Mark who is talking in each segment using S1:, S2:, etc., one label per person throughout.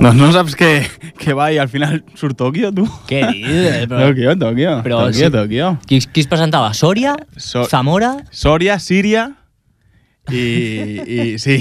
S1: Doncs no saps que, que va i al final surt Tòquio, tu?
S2: Què dius? Però,
S1: Tòquio, Tòquio.
S2: Però
S1: Tòquio,
S2: sí.
S1: Tòquio.
S2: qui, qui es presentava? Sòria?
S1: So-
S2: Zamora?
S1: Sòria, Síria i, i sí,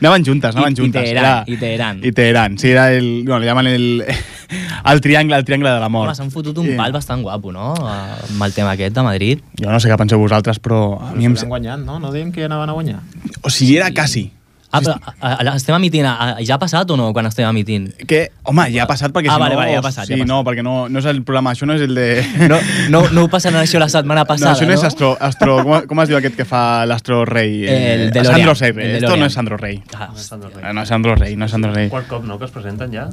S1: anaven juntes, anaven
S2: I- i
S1: juntes.
S2: Teherán,
S1: era-
S2: i Teherán.
S1: I Teherán, sí, era el, bueno, le llaman el, el triangle, el triangle de la mort.
S2: Home, s'han fotut un pal bastant guapo, no? Amb el tema aquest de Madrid.
S1: Jo no sé què penseu vosaltres, però a mi em...
S3: Estan guanyant, no? No diem que anaven a guanyar.
S1: O sigui, era quasi.
S2: Ah, però a, a, a, estem emitint, a, a, ja ha passat o no, quan estem emitint?
S1: Que, home, ja ha passat perquè
S2: Ah,
S1: si
S2: vale,
S1: no...
S2: vale, ja ha passat,
S1: sí,
S2: ja ha passat.
S1: no, perquè no, no és el programa, això no és el de...
S2: No, no, no ho passaran això la setmana passada,
S1: no, això
S2: no?
S1: no és astro, astro com, com es diu aquest que fa l'astro rei? de
S2: El DeLorean,
S1: Sandro Rey.
S2: el
S1: Esto
S2: DeLorean.
S1: no és Sandro Rey.
S2: Ah,
S1: Ah, No és Sandro Rey, no és Sandro Rey.
S3: Quart cop, no, que es presenten ja?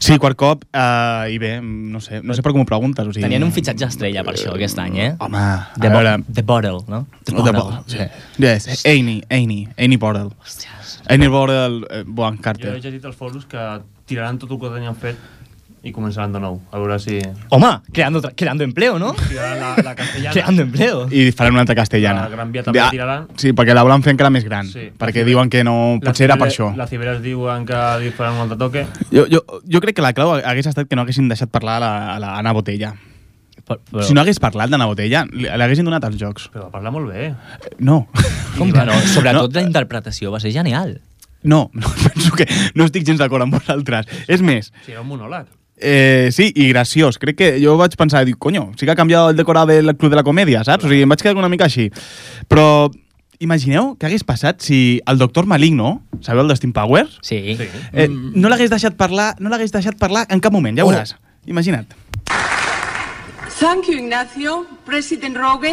S1: Sí, quart cop, eh, i bé, no sé, no sé per com ho preguntes. O sigui,
S2: tenien un fitxatge estrella per això aquest any, eh?
S1: Home, a
S2: The, bo
S1: veure...
S2: the Bottle, no? The
S1: Oh, de Bo- sí. Yes, Amy, Amy, Amy Bordel.
S2: Hòsties.
S1: Amy Bordel, eh, Boan
S3: Jo he
S1: Carter.
S3: llegit als foros que tiraran tot el que tenien fet i començaran de nou. A veure si...
S2: Home, creando, tra- creando empleo, no?
S3: Tiraran la, la castellana.
S2: Creando empleo.
S1: I faran una altra castellana.
S3: La Gran Via també
S1: Ja,
S3: la tiraran.
S1: Sí, perquè la volen fer encara més gran.
S3: Sí.
S1: perquè diuen que no...
S3: La
S4: pues
S1: Potser era per
S3: Cibera-
S1: això.
S3: La Cibera es diuen que li faran un altre toque.
S1: Jo, jo, jo crec que la clau hagués estat que no haguessin deixat parlar a la, a la Anna Botella.
S2: Però, però,
S1: Si no hagués parlat d'Anna Botella, li- l'haguessin donat als jocs.
S3: Però va parlar molt bé.
S1: Eh, No.
S2: Com que no? Sobretot
S1: No.
S2: la interpretació va ser genial.
S1: No, no, penso que no estic gens d'acord amb vosaltres. És més,
S3: Si era un monòleg.
S1: Eh, sí, i graciós. Crec que jo vaig pensar, dic, coño, sí que ha canviat el decorat del Club de la Comèdia, saps? O sigui, em vaig quedar una mica així. Però imagineu què hagués passat si el doctor Maligno, sabeu el de Steam Powers?
S2: Sí.
S3: Sí.
S1: Eh, no l'hagués deixat parlar, no l'hagués deixat parlar en cap moment, ja ho
S2: Oh.
S1: veuràs. Imagina't.
S5: Thank you, Ignacio, President Rogue,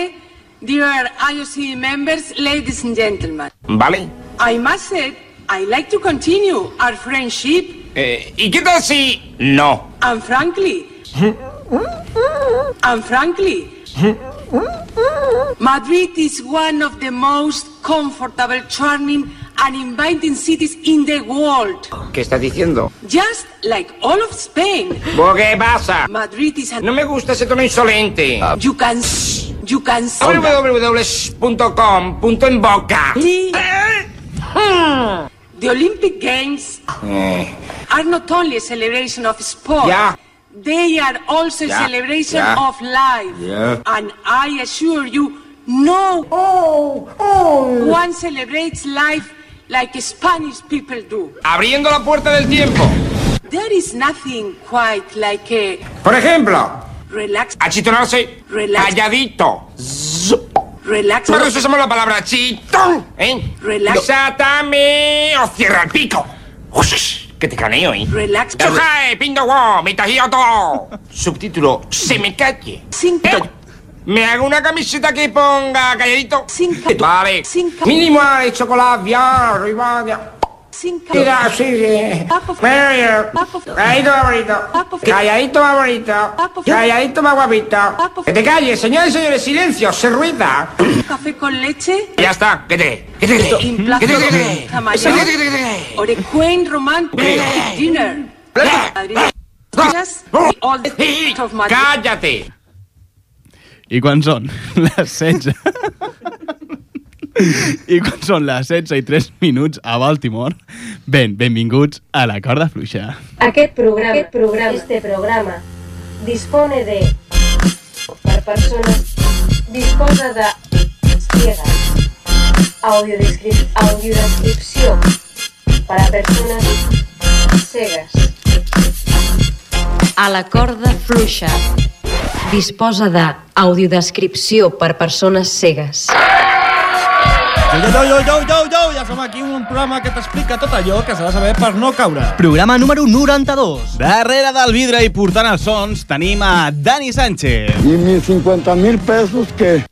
S5: dear IOC members, ladies and gentlemen.
S6: ¿Vale?
S5: I must say, I like to continue our friendship,
S6: Eh, ¿Y qué tal si no?
S5: and frankly, and frankly, Madrid is one of the most comfortable, charming, and inviting cities in the world.
S6: ¿Qué está diciendo?
S5: Just like all of Spain,
S6: ¿Vos ¿Qué pasa?
S5: Madrid is
S6: No
S5: an.
S6: me gusta ese tono insolente.
S5: You can. s- You can. s-
S6: www.com. Punto en boca. Ah.
S5: The Olympic Games
S6: Eh.
S5: are not only a celebration of sport.
S6: Yeah.
S5: They are also a
S6: Yeah.
S5: celebration
S6: Yeah.
S5: of life.
S6: Yeah.
S5: And I assure you, no
S6: Oh,
S5: one celebrates life like Spanish people do.
S6: Abriendo la puerta del tiempo.
S5: There is nothing quite like a
S6: Por ejemplo,
S5: relax,
S6: achitonarse.
S5: Relax.
S6: Calladito.
S5: relax,
S6: Nosotros usamos la palabra chitón, ¿eh?
S5: Relax.
S6: Desátame o cierra el pico. Ush, que te caneo, ¿eh?
S5: relax,
S6: Chujai, pindo wo, me tajío todo. Subtítulo, se me calle.
S5: Sin-
S6: ¿Eh? Me hago una camiseta que ponga calladito.
S5: Sin-
S6: Vale.
S5: Sin-
S6: Mínimo de chocolate, ya, arriba, ya.
S5: think
S6: Mira, sí, sí. Mira, mira. Calladito, va bonito. Calladito, va bonito. Calladito, va guapito. Que te calles, señores y señores, silencio, se ruida.
S5: café con leche,
S6: Ya está, que te, que te, que te,
S5: In
S6: que te, que
S5: Plaza
S6: te,
S5: Tamayo.
S6: que te, que te.
S5: or a quaint romantic dinner. Madrid is just all the heat of Madrid.
S6: Cállate.
S1: I quan són? Les 16. I quan són les 16 i 3 minuts a Baltimore? Ben, benvinguts a la corda fluixa.
S7: Aquest programa, aquest programa, este programa, dispone de... Per persones, disposa de... Ciega. Audiodescrip, audiodescripció. Per a persones cegues. A la corda fluixa. Disposa de audiodescripció per persones cegues.
S4: Yo, yo, yo, yo, yo, yo, ja som aquí un programa que t'explica tot allò que s'ha de saber per no caure.
S2: Programa número 92.
S1: Darrere del vidre i portant els sons tenim a Dani Sánchez.
S8: ¿Y mis 50 mil pesos que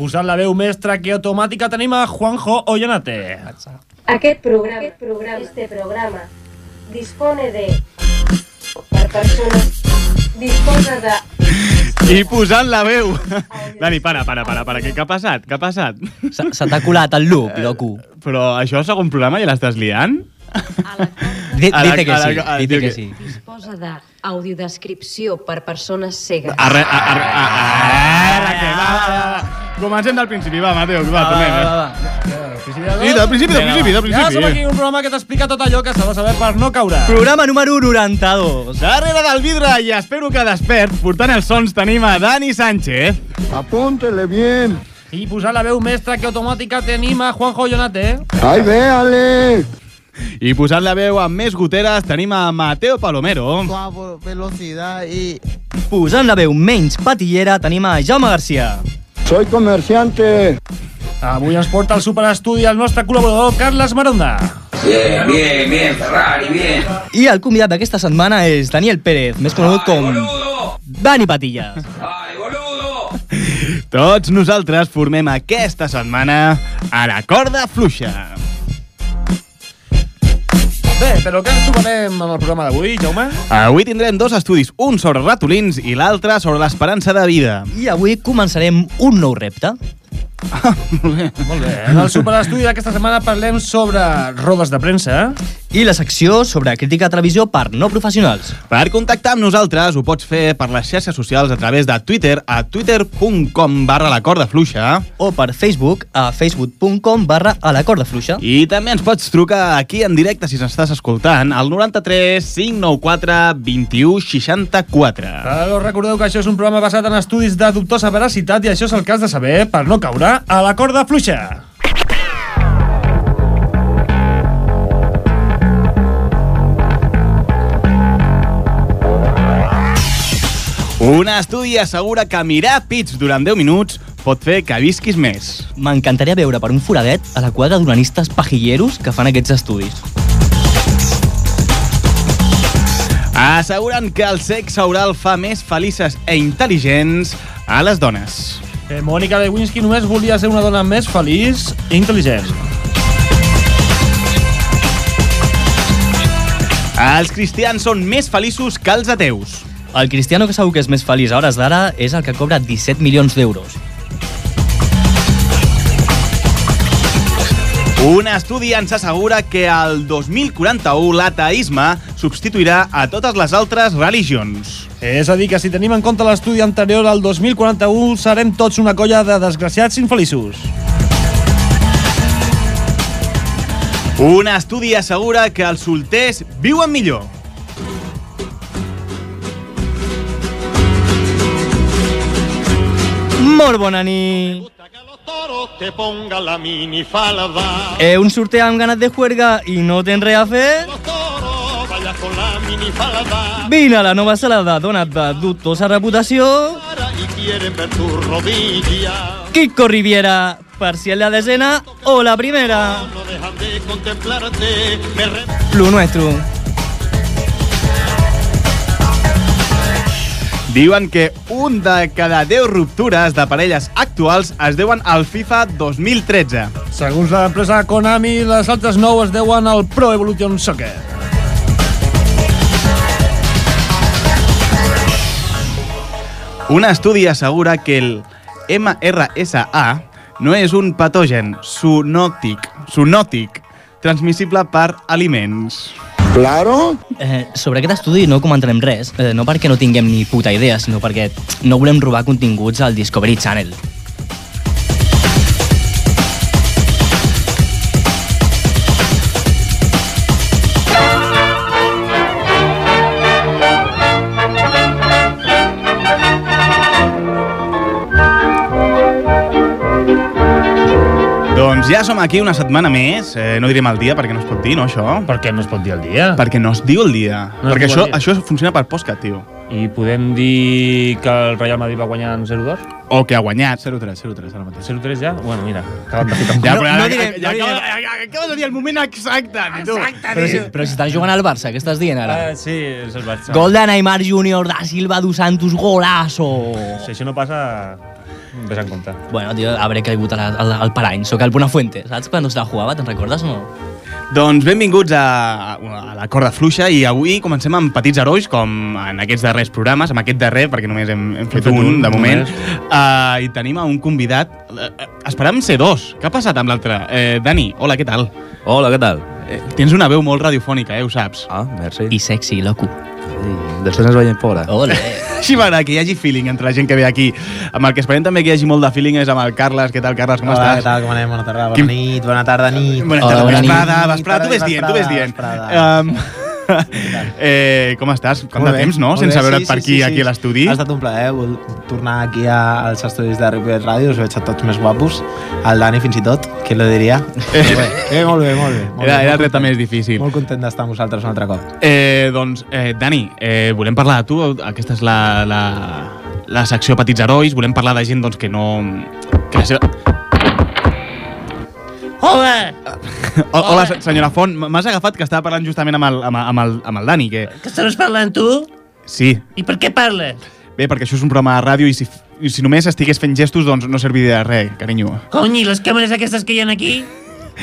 S4: Posant la veu mestra que automàtica tenim a Juanjo Ollanate.
S7: Aquest programa, aquest programa, este programa, dispone de... Per persones, disposa de...
S1: I posant la veu. Dani, para, para, para, para, que què ha passat? Què ha passat? Eh,
S2: Se, se t'ha colat el loop, loco.
S1: Però això és segon programa i ja l'estàs liant?
S7: A la corda
S2: Di-
S1: A la-
S2: Dice que
S1: a la-
S2: sí,
S1: a-
S2: dice
S1: diu
S2: que
S1: que-
S2: sí.
S7: disposa de audiodescripció per persones cegues.
S1: Arre, a, a, a, Ah, a, ara que va. Comencem del principi, va, Mateo, va, tornem. eh?
S2: va.
S4: principi de tot.
S1: Sí, del principi, del
S4: Vinga,
S1: principi, del
S4: va. Ja som
S1: principi.
S4: aquí un programa que t'explica tot allò que s'ha de saber per no caure.
S2: Programa número 92.
S1: Darrere del vidre i espero que despert, portant els sons tenim a Dani Sánchez.
S8: Apúntele bien.
S4: I posar la veu mestra que automàtica tenim a Juanjo Yonate.
S8: ¡Ay, véale!
S1: I posant la veu amb més goteres tenim a Mateo Palomero.
S9: velocidad y
S2: Posant la veu menys patillera tenim a Jaume Garcia.
S8: Soy comerciante.
S4: Avui ens porta al superestudi el nostre col·laborador Carles Maronda.
S2: I el convidat d'aquesta setmana és Daniel Pérez, més conegut com... Dani Patilla.
S1: Tots nosaltres formem aquesta setmana a la corda fluixa.
S4: Bé, però què ens trobarem en el programa d'avui, Jaume?
S1: Avui tindrem dos estudis, un sobre ratolins i l'altre sobre l'esperança de vida.
S2: I avui començarem un nou repte.
S4: Molt bé. En Eh, el superestudi d'aquesta setmana parlem sobre rodes de premsa. eh?
S2: I la secció sobre crítica de televisió per no professionals.
S1: Per contactar amb nosaltres ho pots fer per les xarxes socials a través de Twitter a twitter.com barra la corda fluixa
S2: O per Facebook a facebook.com barra a la corda fluixa.
S1: i també ens pots trucar aquí en directe si ens estàs escoltant al 93 594 21 64.
S4: Però recordeu que això és un programa basat en estudis de dubtosa veracitat i això és el cas de saber per no caure a la corda fluixa.
S1: Un estudi assegura que mirar pits durant 10 minuts pot fer que visquis més.
S2: M'encantaria veure per un foradet a la quadra d'uranistes pajilleros que fan aquests estudis.
S1: Asseguren que el sexe oral fa més felices e intel·ligents a les dones.
S4: Eh, Mònica Lewinsky només volia ser una dona més feliç i intel·ligent.
S1: Els cristians són més feliços que els ateus.
S2: El cristiano que segur que és més feliç a hores d'ara és el que cobra 17 milions d'euros.
S1: Un estudi ens assegura que el 2041 l'ateisme substituirà a totes les altres religions.
S4: És a dir, que si tenim en compte l'estudi anterior al 2041, serem tots una colla de desgraciats infeliços.
S1: Un estudi assegura que els solters viuen millor.
S2: Molt bona nit! Eh, un sorteo amb ganes de juerga i no tens res a fer? Vine a la nova sala de dones de dubtosa reputació. Kiko Riviera, parcial de la desena o la primera. Lo nuestro.
S1: Diuen que un de cada 10 ruptures de parelles actuals es deuen al FIFA 2013.
S4: Segons l'empresa Konami, les altres nou es deuen al Pro Evolution Soccer.
S1: Un estudi assegura que el MRSA no és un patogen zoonòtic, zoonòtic transmissible per aliments.
S8: Claro.
S2: Eh, sobre aquest estudi no comentarem res, eh, no perquè no tinguem ni puta idea, sinó perquè no volem robar continguts al Discovery Channel.
S1: Doncs ja som aquí una setmana més. Eh, no direm el dia perquè no es pot dir, no, això?
S3: Per què no es pot dir el dia?
S1: Perquè no es diu el dia.
S3: No es
S1: perquè
S3: diu
S1: això,
S3: el dia.
S1: això funciona per postcat, tio.
S3: I podem dir que el Real Madrid va guanyar en 0-2?
S1: O que ha guanyat. 0-3, 0-3, ara mateix.
S3: 0-3 ja? Bueno, mira, acabat de ficar.
S1: Ja,
S2: No-
S1: però
S2: no
S1: ara-
S2: direm,
S1: ja
S2: no direm.
S1: acaba- acabes de dir el moment exacte, tio.
S2: Però si, però si estan jugant al Barça, què estàs dient ara?
S3: Ah, sí, és el Barça.
S2: Gol de Neymar Junior, da Silva, dos Santos, golazo!
S3: Si això no passa, em ves en compte.
S2: Bueno, tio, hauré caigut al, al, al parany, sóc el Bonafuente. Saps quan se la jugava, te'n recordes o no?
S1: Doncs benvinguts a, a la corda fluixa i avui comencem amb petits herois com en aquests darrers programes, amb aquest darrer perquè només hem, hem fet,
S3: fet
S1: un,
S3: un,
S1: de moment
S3: només.
S1: uh, i tenim a un Eh, convidat uh, esperam ser dos, què ha passat amb l'altre? Eh, Dani, hola, què tal?
S10: Hola, què tal?
S1: eh, tens una veu molt radiofònica, eh, ho saps.
S10: Ah, merci.
S2: I sexy, loco.
S10: Ei, Mm, després ens veiem fora.
S2: Ole.
S1: Així m'agrada que hi hagi feeling entre la gent que ve aquí. Amb el que esperem també que hi hagi molt de feeling és amb el Carles. Què tal, Carles? Com
S9: Hola, què
S1: estàs?
S9: tal, com anem? Bona tarda, bona
S1: Quin-
S9: nit, bona tarda, nit.
S1: Bona
S2: Hola,
S1: tarda,
S2: bona nit.
S1: vesprada, vesprada, tu ves dient, tu ves
S9: Vesprada,
S1: dient.
S9: vesprada.
S1: Um, eh, com estàs? Quant
S9: Molt
S1: de
S9: bé,
S1: temps, no?
S9: molt
S1: Sense
S9: bé,
S1: veure't per aquí, aquí a l'estudi.
S9: Ha estat un plaer vol- tornar aquí a, als estudis de Ripollet Ràdio, us veig a tots més guapos, al Dani fins i tot, qui lo diria? Eh, eh molt bé, molt bé. Molt bé,
S1: Era, era el
S9: molt
S1: repte
S9: content.
S1: més difícil.
S9: Molt content d'estar amb vosaltres un altre cop.
S1: Eh, doncs, eh, Dani, eh, volem parlar de tu. Aquesta és la, la, la secció Petits Herois. Volem parlar de gent doncs, que no... Que la seva...
S4: Joder!
S1: Ho- Hola, se- senyora Font. M- M'has agafat que estava parlant justament amb el, amb, el- amb, el, amb el Dani. Que...
S4: Que estàs parlant tu?
S1: Sí.
S4: I per què parles?
S1: Bé, perquè això és un programa de ràdio i si, f- i si només estigués fent gestos, doncs no serviria de res, carinyo.
S4: Cony, i les càmeres aquestes que hi ha aquí?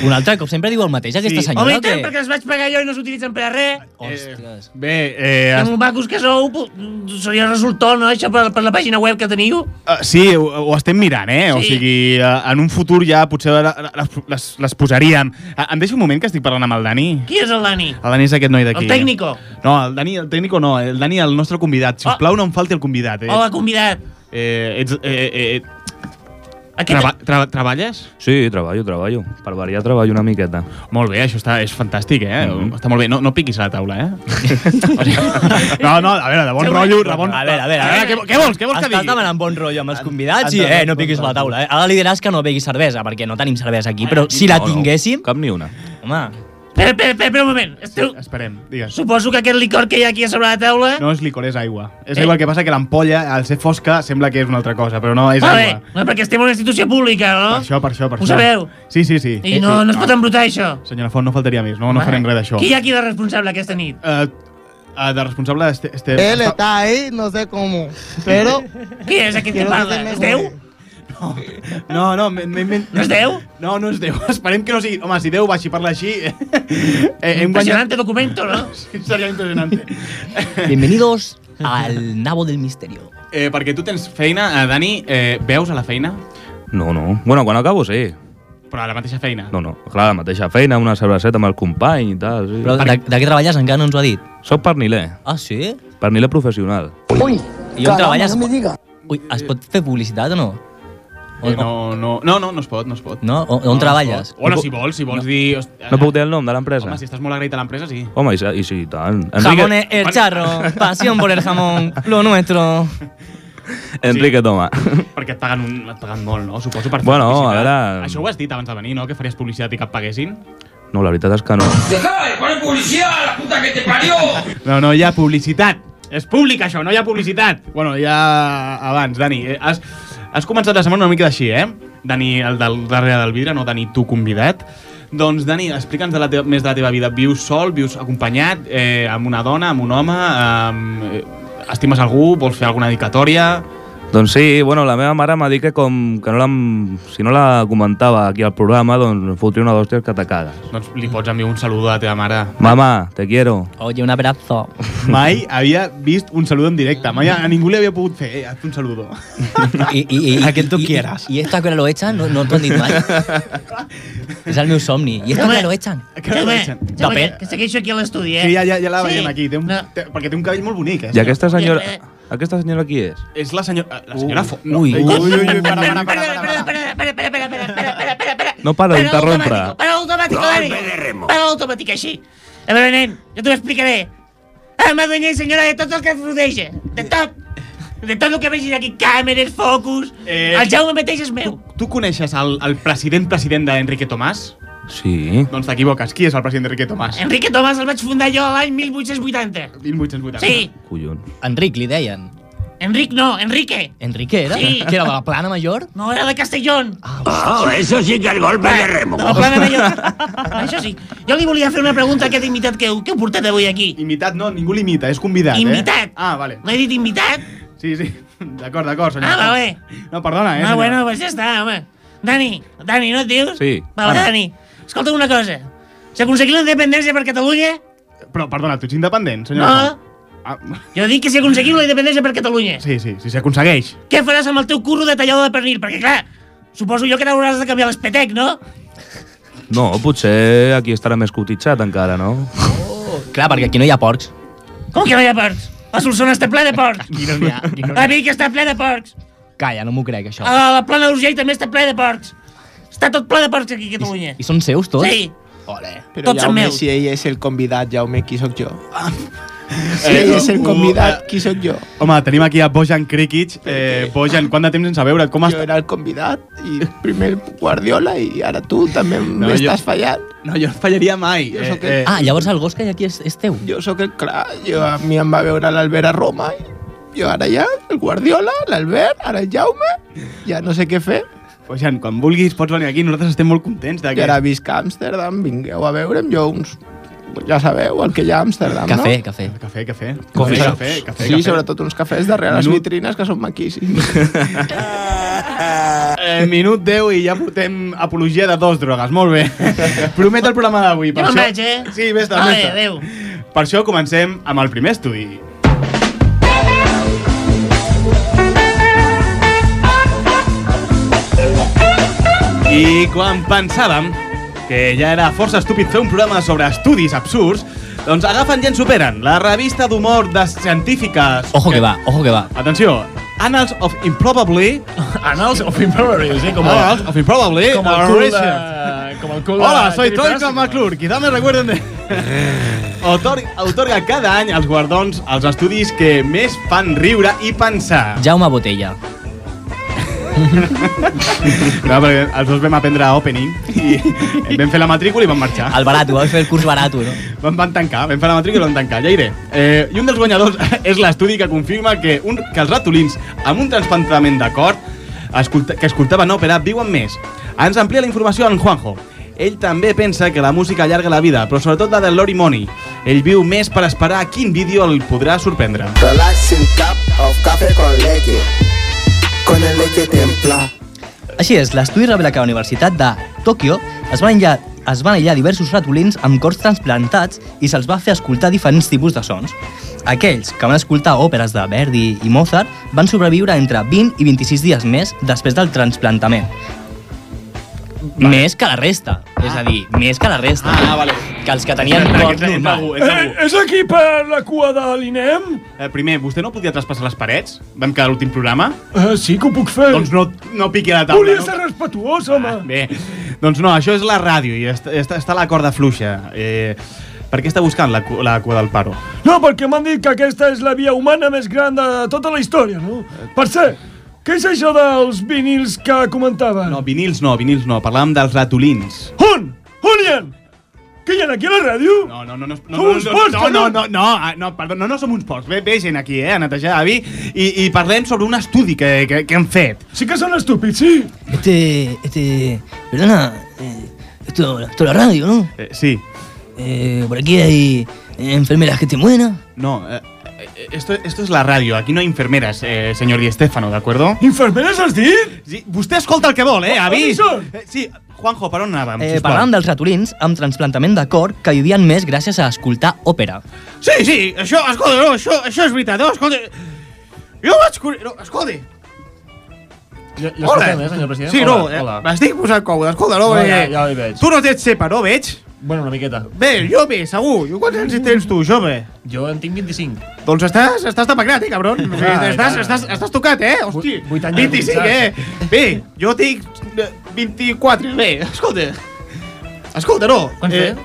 S2: Un altre cop sempre diu el mateix, aquesta
S1: Sí.
S2: senyora. que...
S4: les vaig pagar jo i no s'utilitzen per a res.
S2: Ostres.
S1: Bé, eh,
S4: Que
S1: es,
S4: molt macos que sou, pu- seria resultó, no, això, per, per la pàgina web que teniu?
S1: Uh, sí, ho, ho estem mirant, eh? O
S4: Sí.
S1: sigui, uh, en un futur ja potser ara- ara les, les, les posaríem. Uh, em deixa un moment que estic parlant amb el Dani.
S4: Qui és el Dani?
S1: El Dani és aquest noi d'aquí.
S4: El tècnico.
S1: No, el Dani, el tècnico no. El Dani, el nostre convidat. Si us
S4: Ah.
S1: plau, no em falti el convidat. Eh?
S4: Hola, convidat.
S1: Eh, ets, eh, eh, eh,
S4: Aquest...
S1: traba, tra, treballes?
S10: Sí, treballo, treballo. Per variar, treballo una miqueta.
S1: Molt bé, això està, és fantàstic, eh? Està molt bé. No, no piquis a la taula, eh? O sigui, no, no, a veure, de bon
S4: Següent.
S1: rotllo, de bon...
S2: A veure, a veure, a
S1: A veure,
S2: veure.
S1: què, què vols?
S11: Eh,
S1: Què vols que
S2: Estàs
S1: digui?
S2: demanant bon rotllo amb els convidats
S9: han
S2: i eh,
S9: demanat
S2: no
S9: bon
S2: piquis la
S9: rotllo.
S2: taula. Eh? Ara li diràs que no beguis cervesa, perquè no tenim cervesa aquí, però si la
S10: No, no,
S2: tinguéssim...
S10: Cap ni una.
S2: Home,
S4: Espera, espera, espera, espera un moment. Esteu...
S1: Esperem, digues.
S4: Suposo que aquest licor que hi ha aquí a sobre la taula...
S1: No és licor, és aigua. És
S4: Eh.
S1: igual que passa que l'ampolla, al ser fosca, sembla que és una altra cosa, però no, és
S4: vale,
S1: aigua.
S4: no, perquè estem en una institució pública, no?
S1: Per això, per això, per
S4: Ho
S1: això.
S4: sabeu?
S1: Sí, sí, sí.
S4: I no, no es pot embrutar, això.
S1: Senyora Font, no faltaria més, no, no farem res d'això.
S4: Qui hi ha aquí de responsable aquesta nit?
S1: Eh, eh, de responsable... Este, este,
S9: Él está ahí, no sé cómo, pero...
S4: Qui és aquest que parla? Es Déu?
S1: No, no, m'he- m'he invent...
S4: No és Déu?
S1: No, no és Déu. Esperem que no sigui... Home, si Déu va així, parla així... eh, hem guanyat...
S4: Impressionante documento, no?
S1: Sí, seria impressionante.
S2: bienvenidos al nabo del misterio.
S1: eh, perquè tu tens feina, eh, Dani, eh, veus a la feina?
S10: No, no. Bueno, quan acabo, sí.
S1: Però a la mateixa feina.
S10: No, no. Clar, la mateixa feina, una cerveseta amb el company i tal. Sí.
S2: Però de, de què treballes encara no ens ho ha dit.
S10: Soc perniler.
S2: Ah, sí?
S10: Perniler professional.
S2: I on treballes? Ui, es pot fer publicitat o no?
S1: Eh, no, no, no, no, no es pot, no es pot.
S2: No? On, on treballes?
S1: Bueno, si vols, si vols dir... host-
S10: No puc dir eh. el nom de l'empresa?
S1: Home, si estàs molt agraït a l'empresa, sí.
S10: Home, i, si- i sí, i tant.
S2: Jamones el charro, pasión por el jamón, lo nuestro.
S10: Enrique Toma.
S1: Perquè et paguen, un, et paguen molt, no? Suposo per fer
S10: Bueno,
S1: publicitat.
S10: a veure-
S1: Això ho has dit abans de venir, no? Que faries publicitat i que et paguessin?
S10: No, la veritat és que no.
S1: No, no hi ha publicitat. És públic, això, no hi ha publicitat. Bueno, ja abans, Dani, eh, has, has començat la setmana una mica així, eh? Dani, el del darrere del vidre, no Dani, tu convidat. Doncs, Dani, explica'ns de la teva, més de la teva vida. Vius sol, vius acompanyat, eh, amb una dona, amb un home... Amb, eh, estimes algú, vols fer alguna dedicatòria...
S10: Doncs sí, bueno, la meva mare m'ha dit que com que no la, si no la comentava aquí al programa, doncs em fotria una d'hòsties que te cagues.
S1: Doncs li pots enviar un saludo a la teva mare.
S10: Mamà, te quiero.
S2: Oye, un abrazo.
S1: Mai havia vist un saludo en directe. Mai a, a ningú li havia pogut fer, eh, hazte un saludo.
S2: I, i, i,
S9: A que tu
S2: i- i-
S9: quieras.
S2: I, esta que lo echan, no, no t'ho han dit mai. és el meu somni. I esta que lo echan.
S4: Jaume, Jaume,
S2: Depèn.
S4: que segueixo aquí a l'estudi, eh?
S1: Sí, ja, ja, ja la veiem
S4: Sí.
S1: aquí. Té un,
S4: No.
S1: té, perquè té un cabell molt bonic, eh?
S10: I aquesta senyora...
S4: Eh, eh.
S10: Aquesta senyora qui és?
S1: És la senyora... La senyora Font. No,
S2: Ui.
S1: eh,
S2: Ui,
S1: para, para, para,
S4: Espera,
S1: para, para.
S4: espera, espera, espera, espera, espera, espera, espera, espera, espera, espera.
S10: No para
S4: Para
S10: d'interrompre.
S4: l'automàtic, Para l'automàtic, Dani. Para l'automàtic, així. A veure, nen, jo t'ho explicaré. Em adunyé, senyora, de tot el que rodeja. De tot. De tot el que vegis aquí. Càmeres, focus...
S1: Eh.
S4: El Jaume mateix és meu.
S1: Tu coneixes el, el president president d'Enrique Tomàs?
S10: Sí.
S1: Doncs t'equivoques. Qui és el president d'Enrique Tomàs?
S4: Enrique Tomàs el vaig fundar jo l'any 1880.
S1: 1880.
S4: Sí,
S10: Collons.
S2: Enric, li deien.
S4: Enric no, Enrique.
S2: Enrique era?
S4: Sí.
S2: Que era de la Ah, plana major?
S4: No, era de Castellón. Ah,
S6: Oh, eso sí que es golpe de remo.
S4: De la plana major. Això sí. Jo li volia fer una pregunta a aquest invitat que, que heu portat avui aquí.
S1: Imitat no, ningú l'imita, és convidat, eh?
S4: Invitat.
S1: Ah, vale.
S4: No he dit invitat?
S1: Sí, sí. D'acord, d'acord, senyor.
S4: Ah, vale.
S1: No, perdona, eh?
S4: Ah,
S1: senyora.
S4: bueno, pues ja està, home. Dani, Dani, no et dius?
S10: Sí,
S4: Va,
S10: Dani.
S4: Dani. Dani, escolta una cosa. Si aconseguim la independència per Catalunya...
S1: Però, perdona, tu ets independent, senyora
S4: No,
S1: Font? Ah,
S4: jo dic que si aconseguim la independència per Catalunya,
S1: sí, sí, si s'aconsegueix.
S4: què faràs amb el teu curro de tallada de pernil? Perquè, clar, suposo jo que t'hauràs de canviar l'espetec, no?
S10: No, potser aquí estarà més cotitxat encara, no?
S1: Oh,
S2: Clar, perquè aquí no hi ha porcs.
S4: Com que no hi ha porcs? A Solsona està ple de porcs.
S2: Aquí no n'hi ha. Aquí no n'hi
S4: A
S2: ha.
S4: Vic està ple de porcs.
S2: Calla, no m'ho crec, això.
S4: A la plana d'Urgell també està ple de porcs. Està tot ple de porcs aquí a Catalunya.
S2: I són seus, tots?
S4: Sí.
S2: Ole.
S9: Però
S4: Tots són
S9: Jaume,
S4: meus.
S9: si ell és el convidat, Jaume, qui sóc jo? si
S1: Eh,
S9: ell és el
S1: uh,
S9: convidat, qui sóc jo?
S1: Home, tenim aquí a Bojan Krikic. Eh, Bojan, quant de temps sense veure't? Com
S9: Jo
S1: estàs?
S9: era el convidat i primer Guardiola i ara tu també
S1: No,
S9: m'estàs
S1: jo-
S9: fallant.
S1: No, jo no fallaria mai. eh,
S9: Jo sóc el-
S2: Ah, llavors el gos que hi ha aquí és, és teu.
S9: Jo sóc el clar, jo a mi em va veure l'Albert a Roma i jo ara ja, el Guardiola, l'Albert, ara el Jaume, ja no sé què fer.
S1: Bojan, quan vulguis pots venir aquí. Nosaltres estem molt contents. De
S9: Jo
S1: que...
S9: ara visc a Amsterdam, vingueu a veure'm, jo uns... Ja sabeu, el que hi ha a Amsterdam,
S2: Cafè,
S9: no?
S2: cafè.
S1: Cafè, cafè.
S9: Com
S1: cafè,
S9: serà?
S1: cafè, cafè,
S9: sí,
S1: cafè.
S9: sobretot uns cafès darrere les
S1: Menú.
S9: vitrines que són maquíssims.
S1: Eh, minut 10 i ja portem apologia de dos drogues. Molt bé. Promet el programa d'avui.
S4: Jo
S1: per
S4: me'n
S1: això-
S4: vaig, eh?
S1: Sí, vés-te,
S4: Vale,
S1: vés-te.
S4: adéu.
S1: Per això comencem amb el primer estudi. I quan pensàvem que ja era força estúpid fer un programa sobre estudis absurds, doncs agafen i ens superen. La revista d'humor de científiques...
S2: Ojo que va, ojo que va.
S1: Atenció, Annals of Improbably...
S12: Annals of Improbables, ¿eh? Como,
S1: Annals of Improbably...
S12: como
S1: uh,
S12: el cool,
S1: Research.
S12: eh, como el cool,
S1: Hola,
S12: eh,
S1: soy
S12: Jimmy
S1: Toy
S12: Fallon.
S1: Con McClure. Quizá me recuerden de... Otor otorga cada any els guardons als estudis que més fan riure i pensar.
S2: Jaume Botella.
S1: No, perquè els dos vam aprendre a opening i vam fer la matrícula i vam marxar.
S2: El barato, va fer el curs barato, no?
S1: Van, van tancar, vam fer la matrícula i van tancar, ja iré. Eh, I un dels guanyadors és l'estudi que confirma que, un, que els ratolins amb un transplantament de cor escolta, que escoltaven òpera viuen més. Ens amplia la informació en Juanjo. Ell també pensa que la música allarga la vida, però sobretot la del Lori Money. Ell viu més per esperar a quin vídeo el podrà sorprendre.
S13: Relaxing cup of café con leche. Con el leche templada.
S2: Així és, l'estudi revela que a la Universitat de Tòquio es van aïllar, es van aïllar diversos ratolins amb cors transplantats i se'ls va fer escoltar diferents tipus de sons. Aquells que van escoltar òperes de Verdi i Mozart van sobreviure entre 20 i 26 dies més després del transplantament. Més que la resta. És a dir, més que la resta. Ah, vale. Que els que tenien
S1: Espera, que
S2: cor
S1: és algú,
S2: normal.
S1: és algú.
S12: És aquí Eh, per la cua de l'INEM?
S1: Eh, primer, vostè no podia traspassar les parets? Vam quedar a l'últim programa?
S12: Eh, sí que ho puc fer.
S1: Doncs no, no piqui a la taula.
S12: Volia
S1: no?
S12: ser respetuós, home.
S1: Bé, doncs no, això és la ràdio i està, està, està la corda fluixa. Eh, per què està buscant la, cu- la cua del paro?
S12: No, perquè m'han dit que aquesta és la via humana més gran de tota la història, no? Per cert, què és això dels vinils que comentaven?
S1: No, vinils no, vinils no. Parlàvem dels ratolins.
S12: On? On hi ha? Què hi ha aquí a la ràdio?
S1: No, no, no, no, no,
S12: Som
S1: no,
S12: uns
S1: no,
S12: porcs,
S1: no, no, no, no, ah, no, perdó, no, no som uns porcs. Ve, ve gent aquí, eh, a netejar avi, i, i parlem sobre un estudi que, que, que hem fet.
S12: Sí que són estúpids, sí.
S2: Este, este, perdona, eh, esto, esto es la radio, ¿no?
S1: Eh, sí,
S2: Eh, por aquí hay eh, enfermeras que te mueren.
S1: no, eh, eh, esto, esto es la radio, aquí no hay enfermeras, eh, señor Di Stefano, ¿de acuerdo?
S12: Infermeres has dit? Oh,
S1: Sí, vostè escolta el que vol, eh, avi?
S12: on són?
S1: Eh, sí, Juanjo, per on anàvem,
S2: Eh,
S1: sisplau?
S2: parlant dels ratolins amb transplantament de cor que vivien més gràcies a escoltar òpera.
S1: Sí, sí, això, escolta, no, això, això és veritat, no, escolta... Jo vaig... curi- No, escolta...
S12: Jo, jo
S1: Hola!
S12: escoltem, eh, senyor president?
S1: Sí, no,
S12: hola,
S1: eh,
S12: hola.
S1: m'estic posant còmode, escolta, no,
S12: No,
S1: perquè...
S12: ja- ja ho veig.
S1: Tu no tens cepa, no, veig?
S12: Bueno, una miqueta.
S1: Bé, jove, segur. Jo quants anys hi tens tu, jove?
S12: Jo en tinc 25.
S1: Doncs estàs, estàs tapacrat, eh, cabron? O sigui,
S12: Ah, i
S1: estàs,
S12: tant.
S1: estàs, estàs tocat, eh? Hosti,
S12: Vuit- vuit anys
S1: 25,
S12: realitzats.
S1: eh? Bé, jo tinc eh, 24. Bé, escolta. Escolta, no.
S12: Quants té?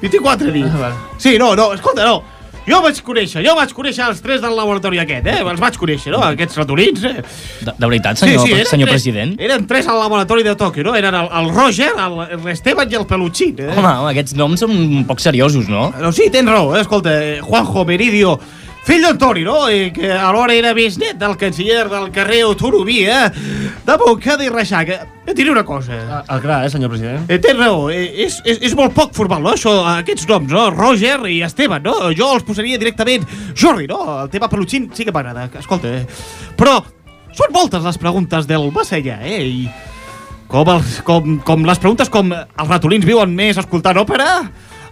S1: 24, dic.
S12: Ah, val.
S1: Sí, no, no, escolta, no. Jo vaig conèixer, jo vaig conèixer els tres del laboratori aquest, eh? Els vaig conèixer, no? Aquests ratolins, eh?
S2: De, de veritat, senyor,
S1: eren
S2: senyor
S1: tres-
S2: president?
S1: Eren tres al laboratori de Tòquio, no? Eren el, el Roger, el, el Esteban i el Pelutxín, eh?
S2: Home, home, aquests noms són un poc seriosos, no?
S1: No, sí, tens raó, eh? escolta, eh, Juanjo Meridio, fill d'Antoni, no? I que alhora era bisnet del canciller del carrer Otorobí, eh? De Montcada i Reixaca. Et diré una cosa.
S12: Ah, ah, clar, eh, senyor president?
S1: Eh, tens raó, eh, és, és, és molt poc formal, no? Això, aquests noms, no? Roger i Esteban, no? Jo els posaria directament Jordi, no? El tema pelutxin sí que m'agrada, escolta. eh? Però són moltes les preguntes del Macellà, eh? I com, els, com, com les preguntes com eh, els ratolins viuen més escoltant òpera?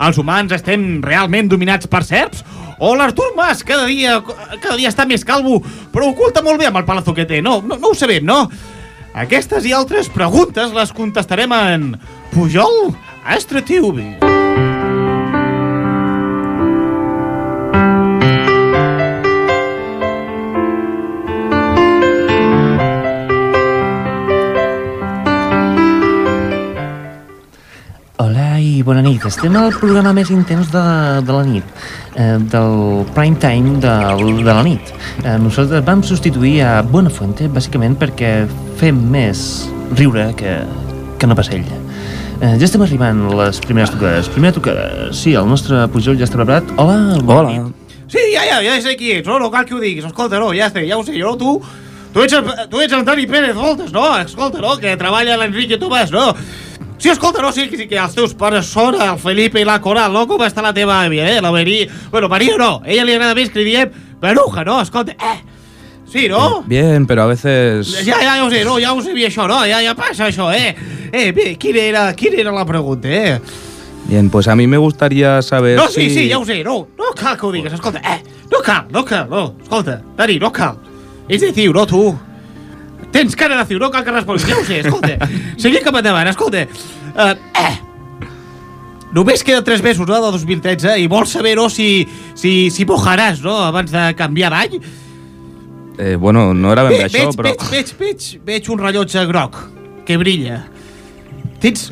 S1: Els humans estem realment dominats per serps? O l'Artur Mas cada dia, cada dia està més calvo, però oculta molt bé amb el palazzo que té. No, no, no ho sabem, no? Aquestes i altres preguntes les contestarem en Pujol Astra TV.
S14: Hola i bona nit. Estem al programa més intens de, de la nit, eh, del prime time de, de la nit. Eh, nosaltres vam substituir a Buenafuente bàsicament perquè fem més riure que, que no passell. Eh, ja estem arribant a les primeres tocades. Primera tocada, sí, el nostre Pujol ja està preparat. Hola, bona Hola. nit.
S1: Sí, ja, ja, ja sé qui ets, no, no cal que ho diguis, escolta, no, ja sé, ja ho sé, jo, tu... Tu ets, el, tu ets el Dani Pérez Voltes, no? Escolta, no? Que treballa l'Enrique Tomàs, no? Sí, escolta, no? Sí, que, sí, que els teus pares són el Felipe i la Coral, no? Com està la teva àvia, eh? La Maria... Bueno, Maria no, ella li agrada més que li diem Maruja, no? Escolta, eh? Sí, no?
S10: Bien, pero a veces...
S1: Ja, ja, ja ho sé, no? Ja ho sabia això, no? Ja, ja passa això, eh? Eh, bé, quina era, quina era la pregunta, eh?
S10: Bien, pues a mí me gustaría saber
S1: No,
S10: si...
S1: sí, sí, ja ho sé, no, no cal que ho digues, escolta, eh, no cal, no cal, no, escolta, Dani, no cal. És de ciu, no, tu? Tens cara de ciu, no cal que responguis, ja ho sé, escolta. Seguim cap endavant, escolta. Eh, eh. Només queden 3 mesos, no, de 2013, i vols saber, no, si, si, si mojaràs, no, abans de canviar d'any?
S10: Eh, bueno, no era ben bé
S1: Ve-
S10: això,
S1: veig,
S10: però...
S1: Veig, veig, veig, veig un rellotge groc, que brilla. Tens,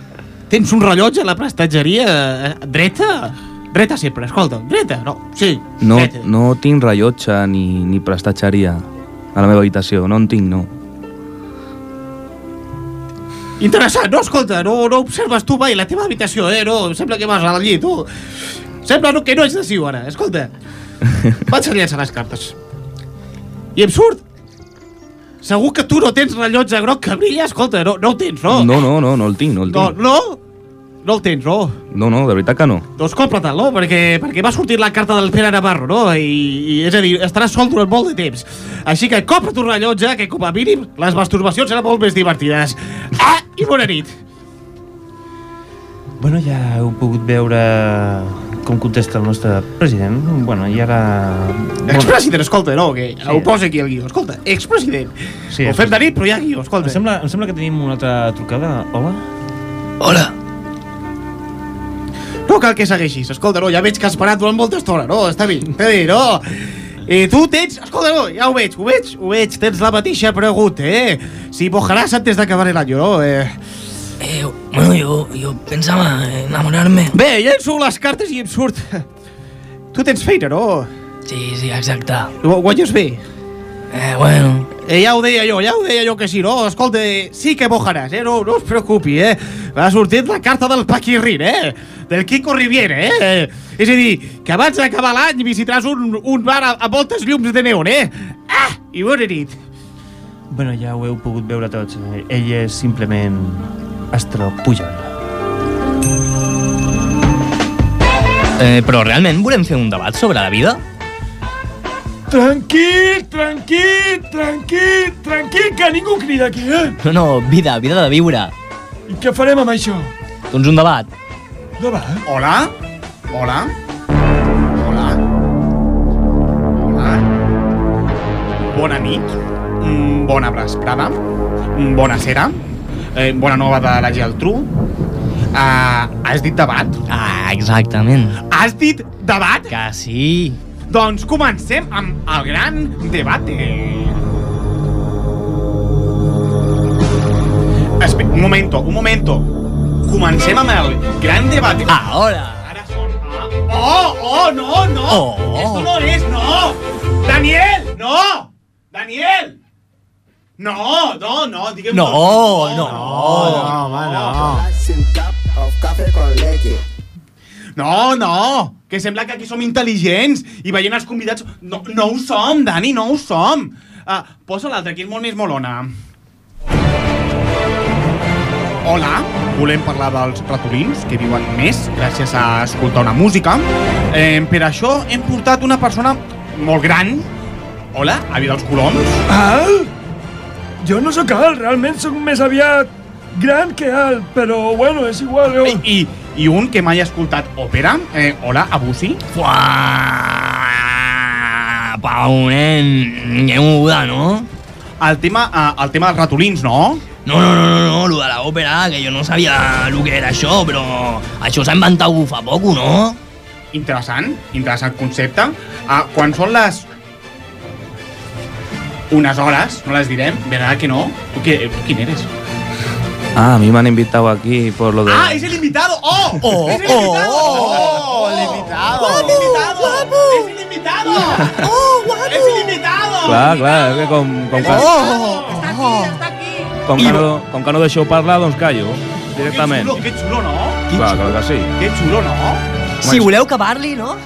S1: tens un rellotge a la prestatgeria eh, dreta? Dreta sempre, escolta, dreta, no, sí,
S10: No, no tinc rellotge ni, ni prestatgeria a la meva habitació, no en tinc, no.
S1: Interessant, no? Escolta, no, no observes tu mai la teva habitació, eh? No, em sembla que vas al llit, tu. Sembla no, que no ets de Siu, ara. Escolta, vaig a llançar les cartes. I em surt. Segur que tu no tens rellotge groc que brilla? Escolta, no, no ho tens, no?
S10: No, no, no, no el tinc, no Mm, el
S1: No,
S10: tinc.
S1: no? No el tens, no?
S10: No, no, de veritat que no.
S1: Doncs compra-te'l, no? Perquè, perquè va sortir la carta del Pere Navarro, no? I, I, és a dir, estaràs sol durant molt de temps. Així que compra un rellotge, que com a mínim les masturbacions seran molt més divertides. Ah, i bona nit.
S14: Bueno, ja heu pogut veure com contesta el nostre president. Bueno, i ara...
S1: Expresident, escolta, no, que sí. ho posa aquí el guió. Escolta, expresident. Sí, ho fem de nit, però hi ha guió, escolta.
S14: Em sembla, em sembla que tenim una altra trucada. Hola?
S1: No cal que segueixis, escolta, no, ja veig que has parat durant molta estona, no, està bé, està bé, no. I tu tens... Escolta, no, ja ho veig, ho veig, ho veig, tens la mateixa pregunta, eh? Si mojaràs antes d'acabar l'any, no? Eh...
S11: Bueno, yo, yo pensaba enamorarme.
S1: Bé, llenço les cartes i em surt. Tu tens feina, no?
S11: Sí, sí, exacte.
S1: Gu- Guanyes bé?
S11: Eh, bueno.
S1: Eh, ja ho deia jo, ja ho deia jo que sí, no? Escolta, eh, sí que mojaràs, eh? No, no us preocupi, eh? Va sortir la carta del Paquirrin, eh? Del Quico Riviera, eh? eh? És a dir, que abans d'acabar l'any visitaràs un, un bar a- amb moltes llums de neon, eh? Ah! I bona nit.
S14: Bueno, ja ho heu pogut veure tots. Ell és simplement Astro Pujol.
S2: Eh, però realment volem fer un debat sobre la vida?
S12: Tranquil, tranquil, tranquil, tranquil, que ningú crida aquí, eh?
S2: No, no, vida, vida de viure.
S12: I què farem amb això?
S2: Doncs un debat.
S12: Davant.
S1: Hola? Hola? Bona nit, mm, bona vesprada, mm, bona cera, eh, bona nova de la Geltrú. Uh, has dit debat?
S2: Ah, exactament.
S1: Has dit debat?
S2: Que sí.
S1: Doncs comencem amb el gran debate. Espe un momento, un momento. Comencem amb el gran debate.
S2: Ahora.
S1: Ara són... Ah, Oh, oh, no, no.
S2: Oh.
S1: Esto no es, no. Daniel, no. Daniel. No, no, no, digue'm...
S2: No, no.
S1: No, home, No, no, que sembla que aquí som intel·ligents i veient els convidats... No, no ho som, Dani, no ho som. Uh, posa l'altre, que és molt més molona. Hola, volem parlar dels ratolins que viuen més gràcies a escoltar una música. Eh, per això hem portat una persona molt gran. Hola, àvia dels coloms.
S12: Al? Jo no sóc alt, realment sóc més aviat gran que alt, però bueno, és igual. Jo...
S1: I, i, i un que mai ha escoltat òpera. Eh, hola, Abusi.
S11: Pau, nen, hi ha moguda, no? Mm,
S1: El tema, eh, el tema dels ratolins, no?
S11: No, no, no, no, no, lo de la òpera, que jo no sabia el que era això, però això
S1: Ah.
S11: s'ha inventat fa poc, no?
S1: Interessant, interessant concepte. Ah, quan són les... unes hores, no les direm, verdad que no? Tu, qui, tu quin eres?
S10: Ah, a mí me han invitado aquí por lo de...
S1: ¡Ah, es el invitado! ¡Oh!
S11: ¡Oh!
S1: ¡Es el invitado! ¡Oh! ¡El invitado! ¡Guapo! ¡Es el invitado! ¡Oh, guapo! ¡Es el invitado! Oh,
S10: Clar, clar, és que com, com, que, com, que no, com que no deixeu parlar, doncs callo,
S1: Que
S10: directament.
S1: xulo, que xulo, no?
S10: Clar, clar que sí.
S1: Que xulo, no?
S11: Si voleu que parli, no?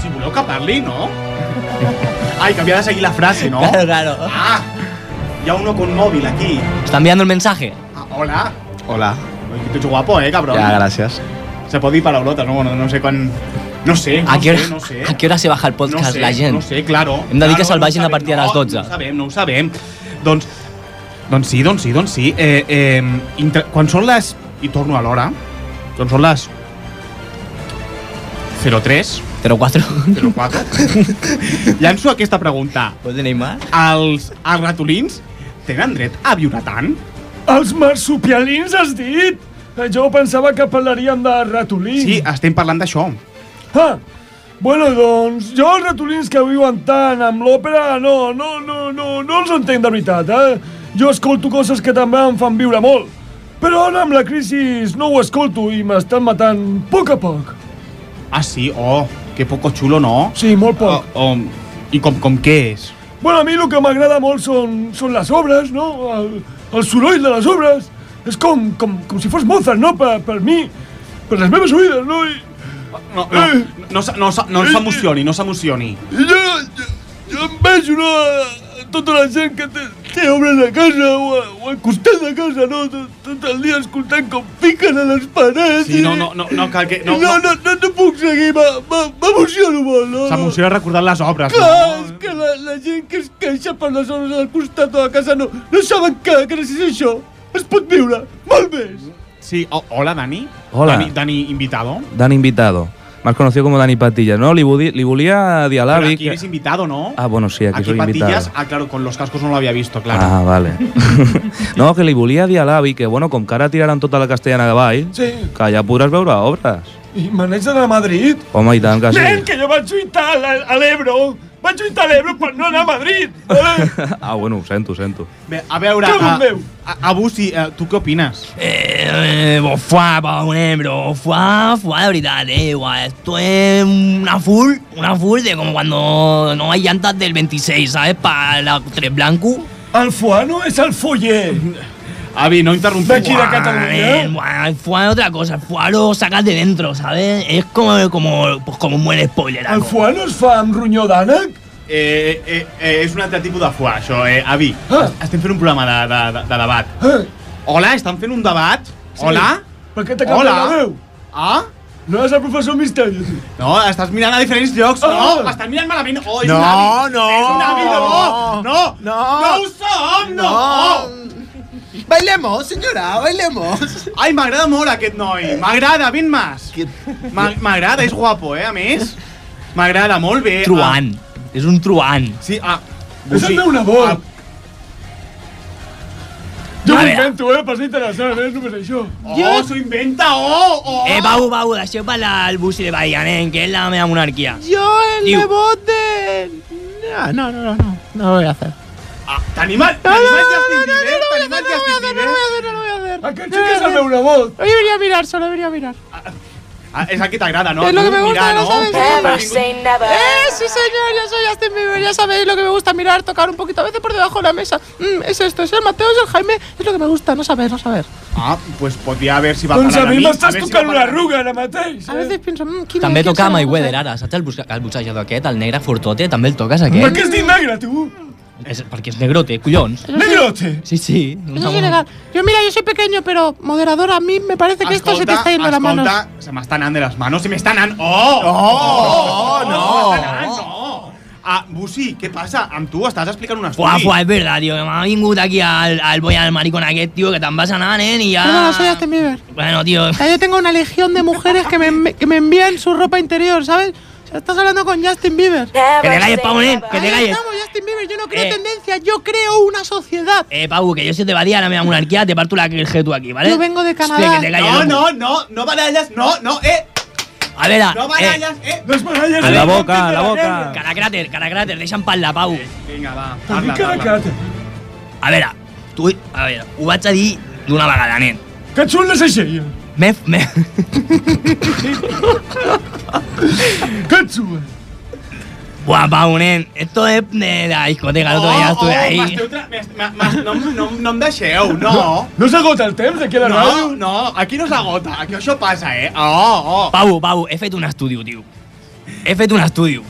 S1: Si voleu que parli, no? Ai, que havia de seguir la frase, no?
S11: Claro, claro.
S1: Ah! Hi ha uno con móvil aquí.
S11: Està enviant el mensaje.
S1: Ah, hola.
S2: Hola.
S1: Ui, que tu ets guapo, eh, cabrón?
S2: Ya, gracias.
S1: Se pot dir paraulotes, no? Bueno, no sé quan... No sé, no
S11: A què,
S1: sé,
S11: hora,
S1: no sé.
S11: a què hora se baja el podcast
S1: no sé,
S11: la gent?
S1: No sé, claro.
S11: Hem de dir
S1: claro,
S11: que se'l vagin a partir de les 12.
S1: No ho sabem, no ho sabem. Doncs, doncs sí, doncs sí, doncs sí. Eh, eh, inter... Quan són les... I torno a l'hora. Quan són les... 03.
S11: 04.
S1: 04. Llanço aquesta pregunta.
S11: Pot anar mal?
S1: Els, els ratolins tenen dret a viure tant?
S12: Els marsupialins has dit? Eh, Jo pensava que parlaríem de ratolins.
S1: Sí, estem parlant d'això.
S12: Ah, bueno, doncs jo els ratolins que viuen tant amb l'òpera no, no, no, no, no els entenc de veritat, eh? Jo escolto coses que també em fan viure molt. Però ara amb la crisi no ho escolto i m'estan matant a poc a poc.
S1: Ah, sí? Oh, que poco xulo, no?
S12: Sí, molt poc.
S1: Oh, oh, I com, com què és?
S12: Bueno, a mi el que m'agrada molt són, són les obres, no? El, el soroll de les obres. És com, com, com si fos Mozart, no? Per, per mi, per les meves oïdes, no? eh, I,
S1: No, no, no, s'ha- no, s'ha- no s'emocioni, no s'emocioni.
S12: i jo, jo, jo em vejo, no? A, a tota la gent que té, té obres a casa o, a, o al costat de casa, no? Tot, tot el dia escoltant com piquen a les parets.
S1: Sí,
S12: i-
S1: no, no, no, no cal que... No,
S12: no, no, no, no puc seguir, m'e- m'e- m'emociono molt, no?
S1: S'emociona recordant les obres,
S12: Clar,
S1: no?
S12: és que la, la gent que es queixa per les zones del costat de la casa no, no saben que gràcies a això es pot viure molt més.
S1: Sí, o- hola, Dani.
S10: Hola.
S1: Dani, Dani invitado.
S10: Dan invitado. Más conocido como Dani Patilla, ¿no? Libulia
S1: Pero
S10: Dialabi.
S1: aquí eres invitado, ¿no?
S10: Ah, bueno, sí, aquí,
S1: Aquí
S10: soy
S1: patillas,
S10: invitado.
S1: ah, claro, con los cascos no lo había visto, claro.
S10: Ah, vale. no, que li volia dir a l'avi que, bueno, com que ara tiraran tota la castellana davall,
S12: Sí.
S10: que ja podràs veure obres.
S12: I maneig de Madrid.
S10: Home, i tant que sí.
S12: Nen, que jo vaig lluitar a la- a l'Ebro. Vaig lluitar a l'Ebro per no anar a Madrid. Eh?
S10: ah, bueno, ho sento, ho sento.
S1: Bé, a veure,
S12: Déu
S1: a,
S12: meu.
S1: a, a Busi, eh, tu què opines?
S11: Eh, bo, fuà, pa, un ebro, fuà, fuà, de veritat, eh, guau, esto es una full, una full de como cuando no hay llantas del 26, ¿sabes? Para la tres blanco.
S12: El fuà no és el foller.
S1: Avi, no interrumpes.
S11: Buah, eh, buah, El fuá es otra cosa, el fuá lo sacas de dentro, ¿sabes? Es como, como, pues como un buen spoiler.
S12: El fuà no es fa amb ronyó d'ànec?
S1: Eh, eh, eh, és un altre tipus de foie, això, eh, Avi.
S12: Ah.
S1: Estem fent un programa de, de, de, de debat. Hola, estan fent un debat? Hola?
S12: Per què t'ha canviat
S1: Hola.
S12: la veu?
S1: Ah?
S12: No és el professor Misteri.
S1: No, estàs mirant a diferents llocs.
S12: Ah.
S1: No, m'estàs mirant malament. Oh, és
S12: No,
S1: un avi.
S12: no.
S1: És un avi, no. No, no. No ho som, no.
S9: Bailemos, senyora, bailemos.
S1: Ai, m'agrada molt aquest noi. M'agrada, vint més. M'a- M'agrada, és guapo, eh, a més. M'agrada, molt bé. ah.
S11: Truant. És un truant.
S1: Sí, ah.
S12: És el meu nebot. Jo m'ho invento, eh, per ser interessant, eh, només això.
S1: Oh, s'ho inventa, oh, oh.
S11: Eh, Pau, Pau, deixeu parlar al busi de Bahia, nen, que és la meva monarquia.
S9: Yo el
S11: Diu.
S9: nebot de... No, no, no, no, no, no lo voy a hacer.
S1: T'anima
S12: Aquest xic és el meu nebot.
S9: Yo debería mirar, solo debería mirar.
S1: Ah, és el que t'agrada, no?
S9: Es lo
S1: Tu,
S9: que me gusta,
S1: mirar,
S9: ¿no sabes?
S1: Vingut-
S9: ¡Eh, sí, señor! Yo soy Justin Bieber, ya sabéis lo que me gusta mirar, tocar un poquito, a veces por debajo de la mesa. Mm, es esto, es el Mateo, es el Jaime, es lo que me gusta, no saber, no saber.
S1: Ah, pues podria haver si va
S12: Doncs a
S1: parlant
S12: mi
S1: mi,
S12: m'estàs
S1: ver si
S12: tocant
S1: va
S12: una
S1: parlant.
S12: arruga ara mateix. eh?
S9: A veces pienso, mm, ¿quién
S11: També
S9: quién
S11: toca
S9: será?
S11: My
S9: No
S11: Weather
S9: sé.
S11: ara, saps el, busca, el bussejador aquest, el negre fortote, també el toques
S12: Per
S11: aquest?
S12: què es diu negre, tu?
S11: És, perquè és negrote, collons.
S12: Negrote?
S11: Sí, sí.
S9: Eso es ilegal. Yo, mira, yo soy pequeño, pero moderador, a mí me parece que esto Este se te está yendo a las manos.
S1: escolta, se m'està anant de les manos, se m'està anant... Oh! Oh,
S9: no.
S1: Se m'està anant, no! Ah, Busi, què passa? Amb tu estàs explicant un estudi.
S11: Fuà, fuà, és verdad, tio, que m'ha vingut aquí al, al boy al maricón aquest, tio, que te'n vas anar, nen, i
S9: No,
S11: ja...
S9: no, soy Justin Bieber.
S11: Bueno, tio,
S9: O sea, yo tengo una legión de mujeres que me, que me envían su ropa interior, ¿sabes? O sea, Estás hablando con Justin Bieber.
S11: Que te calles, Pau, nen, que te
S9: Ahí
S11: calles.
S9: estamos, Justin Bieber. Yo no creo
S11: Eh.
S9: tendencias, yo creo una sociedad.
S11: Eh, Pau, que yo si te badía la media monarquía, te parto la que tú aquí, ¿vale?
S9: Yo vengo de
S11: Hostia,
S9: Canadá.
S11: que te calles,
S1: No,
S11: loco.
S1: no, no, no barallas, no, no, eh.
S11: A veure,
S1: No baralles, eh. No es baralles,
S11: A
S1: la eh, boca, a la boca.
S11: Cara cràter, cara cràter, deixa'm parlar, Pau. Vinga, va,
S6: parla, cara parla. cràter.
S11: A veure, tu... A veure, ho vaig a dir d'una vegada, nen. Que et surt la Seixella. M'he... M'he... que et surt? Buah, Pau, nen, esto es de la discoteca, el otro
S1: Oh,
S11: día estuve ahí.
S1: m'esteu tra- m'est- m'ha- m'ha- no, no, no em deixeu, no.
S11: No s'agota el temps aquí
S1: no, no, aquí no s'agota, aquí això passa, eh. Oh, oh.
S11: Pau, Pau, he fet un estudi, tio. He fet un estudi.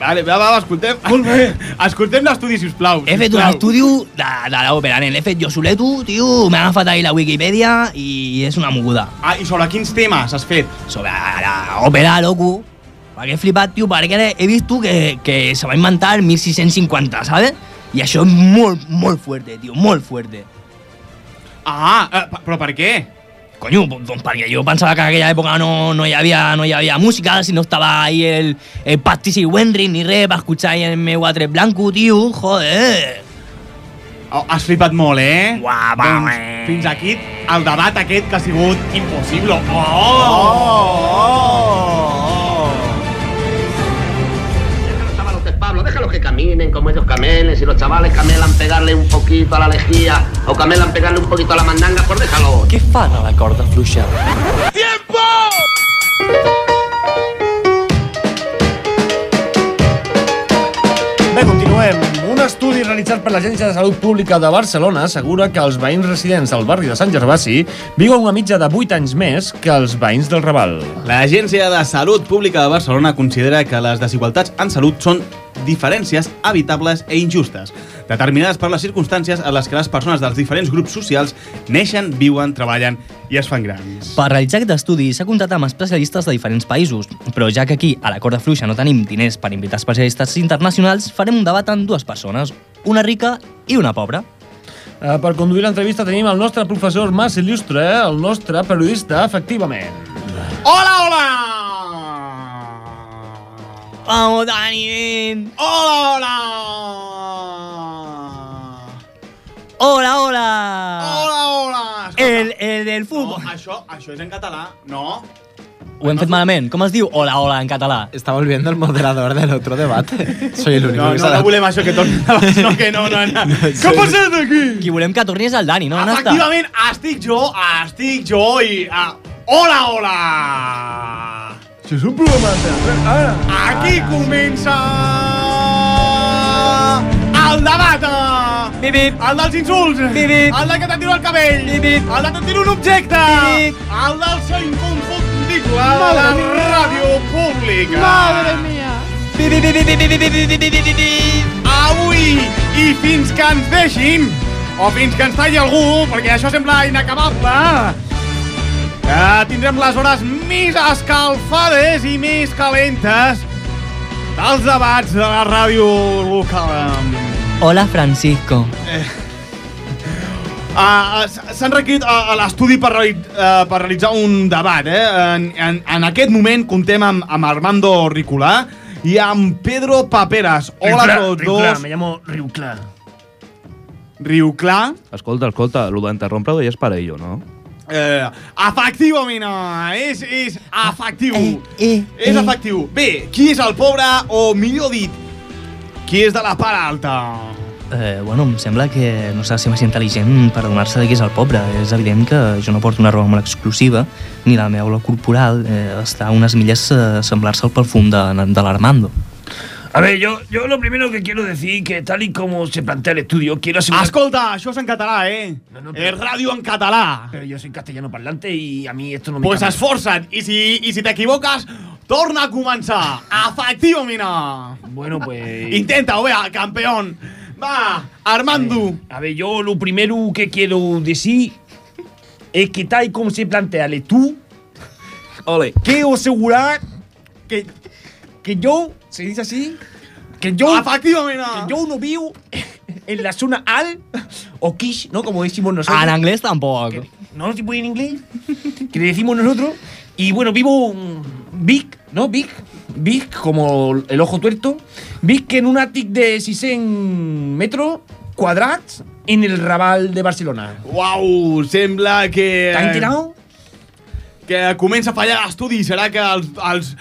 S1: Vale, va, va, escoltem. Molt bé. Escoltem l'estudi, sisplau.
S11: He fet un
S1: sisplau.
S11: estudi de, de l'òpera, nen. L'he fet jo soleto, tio, m'ha agafat ahir la Wikipedia i és una moguda.
S1: Ah, i sobre quins temes has fet?
S11: Sobre la òpera, loco. Perquè he flipat, tio, perquè he vist tu que, que se va inventar el 1650, ¿sabes? I això és molt, molt fuerte, tio, molt fuerte.
S1: Ah, eh, pe- però per què?
S11: Coño, doncs perquè jo pensava que en aquella època no, no, hi havia, no hi havia música, si no estava ahí el, el Pastis i Wendry ni res per escuchar ahí el meu atre blanco, tio, joder.
S1: Oh, has flipat molt, eh?
S11: Guapa,
S1: doncs,
S11: eh?
S1: fins aquí el debat aquest que ha sigut impossible. Oh!
S11: Oh.
S15: Pablo, déjalos que caminen como ellos camelen. Si los chavales camelan pegarle un poquito a la lejía o camelan pegarle un poquito a la mandanga, pues déjalo.
S16: Què fan a la corda fluixa?
S15: ¡Tiempo!
S6: Bé, continuem. Un estudi realitzat per l'Agència de Salut Pública de Barcelona assegura que els veïns residents del barri de Sant Gervasi viuen una mitja de 8 anys més que els veïns del Raval.
S17: L'Agència de Salut Pública de Barcelona considera que les desigualtats en salut són diferències habitables i injustes, determinades per les circumstàncies en les que les persones dels diferents grups socials neixen, viuen, treballen i es fan grans.
S2: Per realitzar aquest estudi s'ha comptat amb especialistes de diferents països, però ja que aquí, a la corda fluixa, no tenim diners per invitar especialistes internacionals, farem un debat amb dues persones, una rica i una pobra.
S6: Eh, per conduir l'entrevista tenim el nostre professor més il·lustre, el nostre periodista, efectivament.
S1: Hola, hola!
S11: Vamos, Dani, ven.
S1: Hola, hola.
S11: Hola, hola. Eh,
S1: Hola, hola.
S11: El, el del futbol.
S1: No, això, això és en català, no?
S2: Ho hem fet malament. Com es diu hola hola en català? Està volviendo el moderador del otro debate. Soy el único
S1: No,
S2: que
S1: no, no volem això que torni a la- No, que no, no, no. Què passa aquí?
S2: Qui volem que torni és el Dani, no? On està?
S1: Efectivament, estic jo, estic jo i... ah, hola, hola!
S6: Això és un programa de teatre. Ah. Ara!
S1: Aquí comença... El debat! Bip, bip. El dels insults!
S12: eh?
S1: Bip, bip. El de que te'n tiro el cabell! Bip, bip. El de te'n tiro un objecte! Bip, bip. El del seu inconfundible de la
S9: Madre mía.
S1: ràdio pública!
S9: Madre mía.
S1: Avui i fins que ens deixin, o fins que ens talli algú, perquè això sembla inacabable, eh, tindrem les hores més escalfades i més calentes dels debats de la ràdio local.
S2: Hola, Francisco.
S1: Eh. Uh, S'han requerit a, a l'estudi per, reali uh, per realitzar un debat. Eh? En, en, en aquest moment comptem amb, amb Armando Ricolà i amb Pedro Paperas. Hola a tots
S14: Ah,
S1: dos.
S6: Me llamo Riu Clar.
S1: Riu clar.
S10: Escolta, escolta, lo d'interrompre-ho ja és per ell, no?
S1: Eh, efectivament, eh, és, és efectiu. és efectiu. Bé, qui és el pobre, o millor dit, qui és de la part alta?
S2: Eh, bueno, em sembla que no s'ha de ser més intel·ligent per adonar-se de qui és el pobre. És evident que jo no porto una roba molt exclusiva, ni la meva olor corporal eh, està a unes milles eh, semblar-se al perfum de, de l'Armando.
S18: A ver, yo, yo lo primero que quiero decir que tal y como se plantea el estudio, quiero asegurar...
S1: Escolta, això és en català, eh? No, no, és ràdio en català.
S18: Pero yo soy castellano parlante y a mí esto no me
S1: Pues
S18: cambia.
S1: esforça't, i si, i si t'equivoques, torna a començar. Efectivament.
S18: Bueno, pues...
S1: Intenta, vea, campeón. Va, Armando.
S18: A ver, yo lo primero que quiero decir es que tal y como se plantea el estudio,
S10: Ole.
S18: quiero asegurar que, que yo, se dice así, que yo,
S1: Efectivamente.
S18: que yo no vivo en la zona al o quiche, ¿no? Como decimos nosotros.
S2: En anglès tampoc.
S18: no se puede en inglés, que le decimos nosotros. Y bueno, vivo mm, big, ¿no? Big, Vic, como el ojo tuerto, Vic que en un átic de 600 metros cuadrats en el Raval de Barcelona.
S1: Uau, sembla que... eh,
S18: T'ha enterat?
S1: Que comença a fallar l'estudi. Serà que els, els,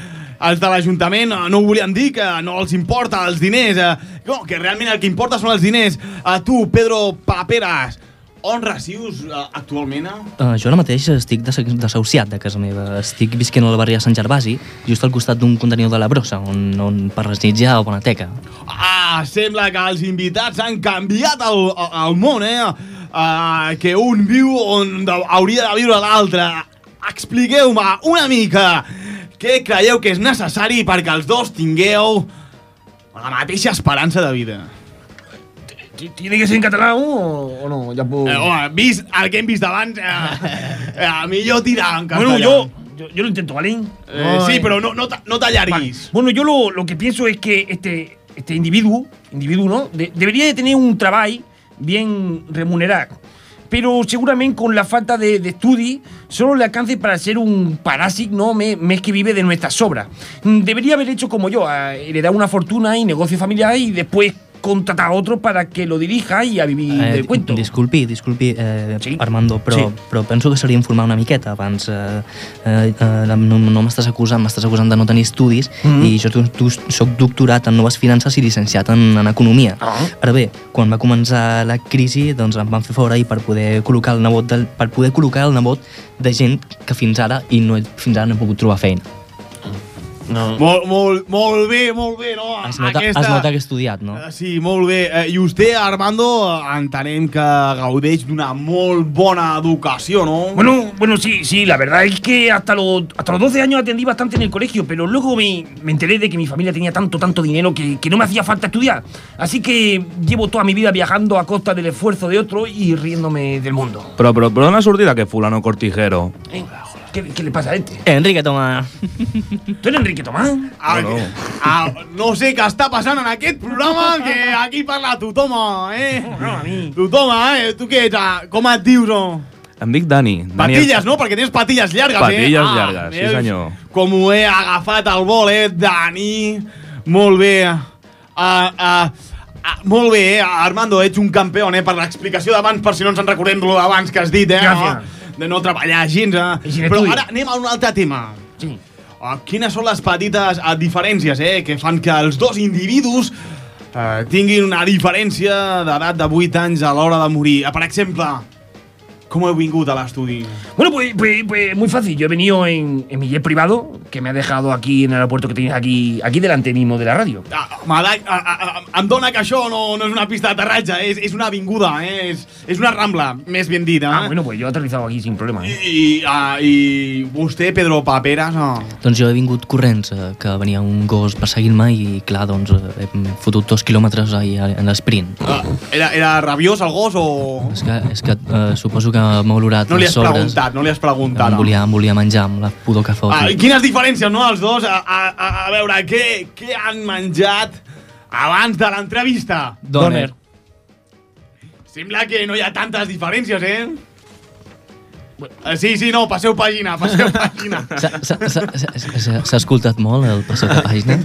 S1: els de l'Ajuntament eh, no ho volien dir, que no els importa els diners. eh? No, que realment el que importa són els diners. A tu, Pedro Paperas, on resius eh, actualment? eh?
S2: Uh, jo ara mateix estic desa- desahuciat de casa meva. Estic visquent a la barriera Sant Gervasi, just al costat d'un contenidor de la brossa, on, on per les nits hi ha bona teca.
S1: Ah, sembla que els invitats han canviat el, el món, eh? Ah, que un viu on de, hauria de viure l'altre. Expliqueu-me una mica què creieu que és necessari perquè els dos tingueu la mateixa esperança de vida.
S18: Tiene que ser en català o, o no? Ja puc...
S1: Eh, home, vist el que hem vist abans, eh, eh, millor tirar en castellà.
S18: Bueno, yo, yo, yo lo intento, ¿vale?
S1: Eh, sí, pero no, no, te- no te alarguis.
S18: Vale. Bueno, yo lo, lo que pienso es que este, este individuo, individuo ¿no? De- debería de tener un trabajo bien remunerado. Pero seguramente con la falta de, de estudio solo le alcance para ser un parásito, ¿no? Mes, mes que vive de nuestras obras. Mm, Debería haber hecho como yo, a heredar una fortuna y negocio familiar y después contratar a otro para que lo dirija y a vivir
S2: Eh,
S18: del cuento.
S2: Disculpi, disculpi, eh, sí? Armando, però, sí. però penso que seria informar una miqueta abans. Eh, eh, eh, no no m'estàs acusant, m'estàs acusant de no tenir estudis
S11: Mhm.
S2: i jo tu, tu, soc doctorat en noves finances i llicenciat en, en economia.
S11: Ah.
S2: Ara bé, quan va començar la crisi, doncs em van fer fora i per poder col·locar el nebot, del, per poder col·locar el nebot de gent que fins ara i no, he- fins ara no he pogut trobar feina.
S18: No.
S1: Molt, molt, molt bé, molt bé, no?
S2: Es nota, Aquesta... es nota que he estudiat, no?
S1: Eh, Sí, molt bé. Eh, I vostè, Armando, eh, entenem que gaudeix d'una molt bona educació, no?
S18: Bueno, bueno, sí, sí, la verdad es que hasta los, hasta los 12 años atendí bastante en el colegio, pero luego me, me enteré de que mi familia tenía tanto, tanto dinero que, que no me hacía falta estudiar. Así que llevo toda mi vida viajando a costa del esfuerzo de otro y riéndome del mundo.
S10: Però, però, però d'on ha sortit aquest fulano cortijero?
S18: ¿Qué, qué le pasa a este?
S2: Enrique Tomás.
S18: ¿Tú eres Enrique Tomás?
S1: Ah, no. Ah, no sé què està passant en aquest programa, que aquí parla tothom, eh? No, a mi. Tothom, eh? Tu què ets? Ah, Com et dius, no?
S10: Em dic Dani. Dani
S1: Patilles, no? Perquè tens patilles llargues, eh?
S10: Patilles
S1: Ah,
S10: llargues, sí
S1: veus?
S10: senyor.
S1: Com ho he agafat al vol, eh, Dani? Molt bé. Ah, ah, ah, molt bé, eh? Armando, ets un campió, eh? Per l'explicació d'abans, per si no ens en recordem lo d'abans que has dit, eh?
S18: Gràcies.
S1: No? De no treballar gens, eh?
S18: de
S1: Però
S18: tu.
S1: ara anem a un altre tema.
S18: Sí.
S1: Ah, quines són les petites eh, diferències, eh? Que fan que els dos individus eh, tinguin una diferència d'edat de 8 anys a l'hora de morir. Eh, Per exemple, com heu vingut a l'estudi?
S18: Bueno, pues, pues- pues muy fácil. Yo he venido en, en mi jet privado, que me ha dejado aquí en el aeropuerto que tenéis aquí, aquí delante mismo de la radio.
S1: Malai, a, a, a, em dona que això no, no és una pista d'aterratge, és, és una avinguda, eh? és, és una rambla, més ben dit. Eh? Ah,
S18: bueno, pues jo he aterrizado aquí sin problema.
S1: Eh? I, ah, I vostè, Pedro Paperas, ah, no?
S2: Doncs jo he vingut corrents, eh, que venia un gos perseguint-me i, clar, doncs, eh, he- m'he fotut dos quilòmetres ahir en l'esprint.
S1: Ah, era, era rabiós el gos o...?
S2: És que, és que eh, suposo que m'ha olorat
S1: No li
S2: les
S1: has
S2: sobres.
S1: preguntat, no li has preguntat.
S2: Em volia, em volia menjar amb la pudor que fot.
S1: Ah, quines diferències, no, els dos? A, a, a, a veure, què, què han menjat abans de l'entrevista?
S2: Doner.
S1: Sembla que no hi ha tantes diferències, eh? Eh, Sí, sí, no, passeu pàgina, passeu pàgina.
S2: S'ha- s'ha- s'ha- s'ha- s'ha- S'ha escoltat molt el passat de pàgina?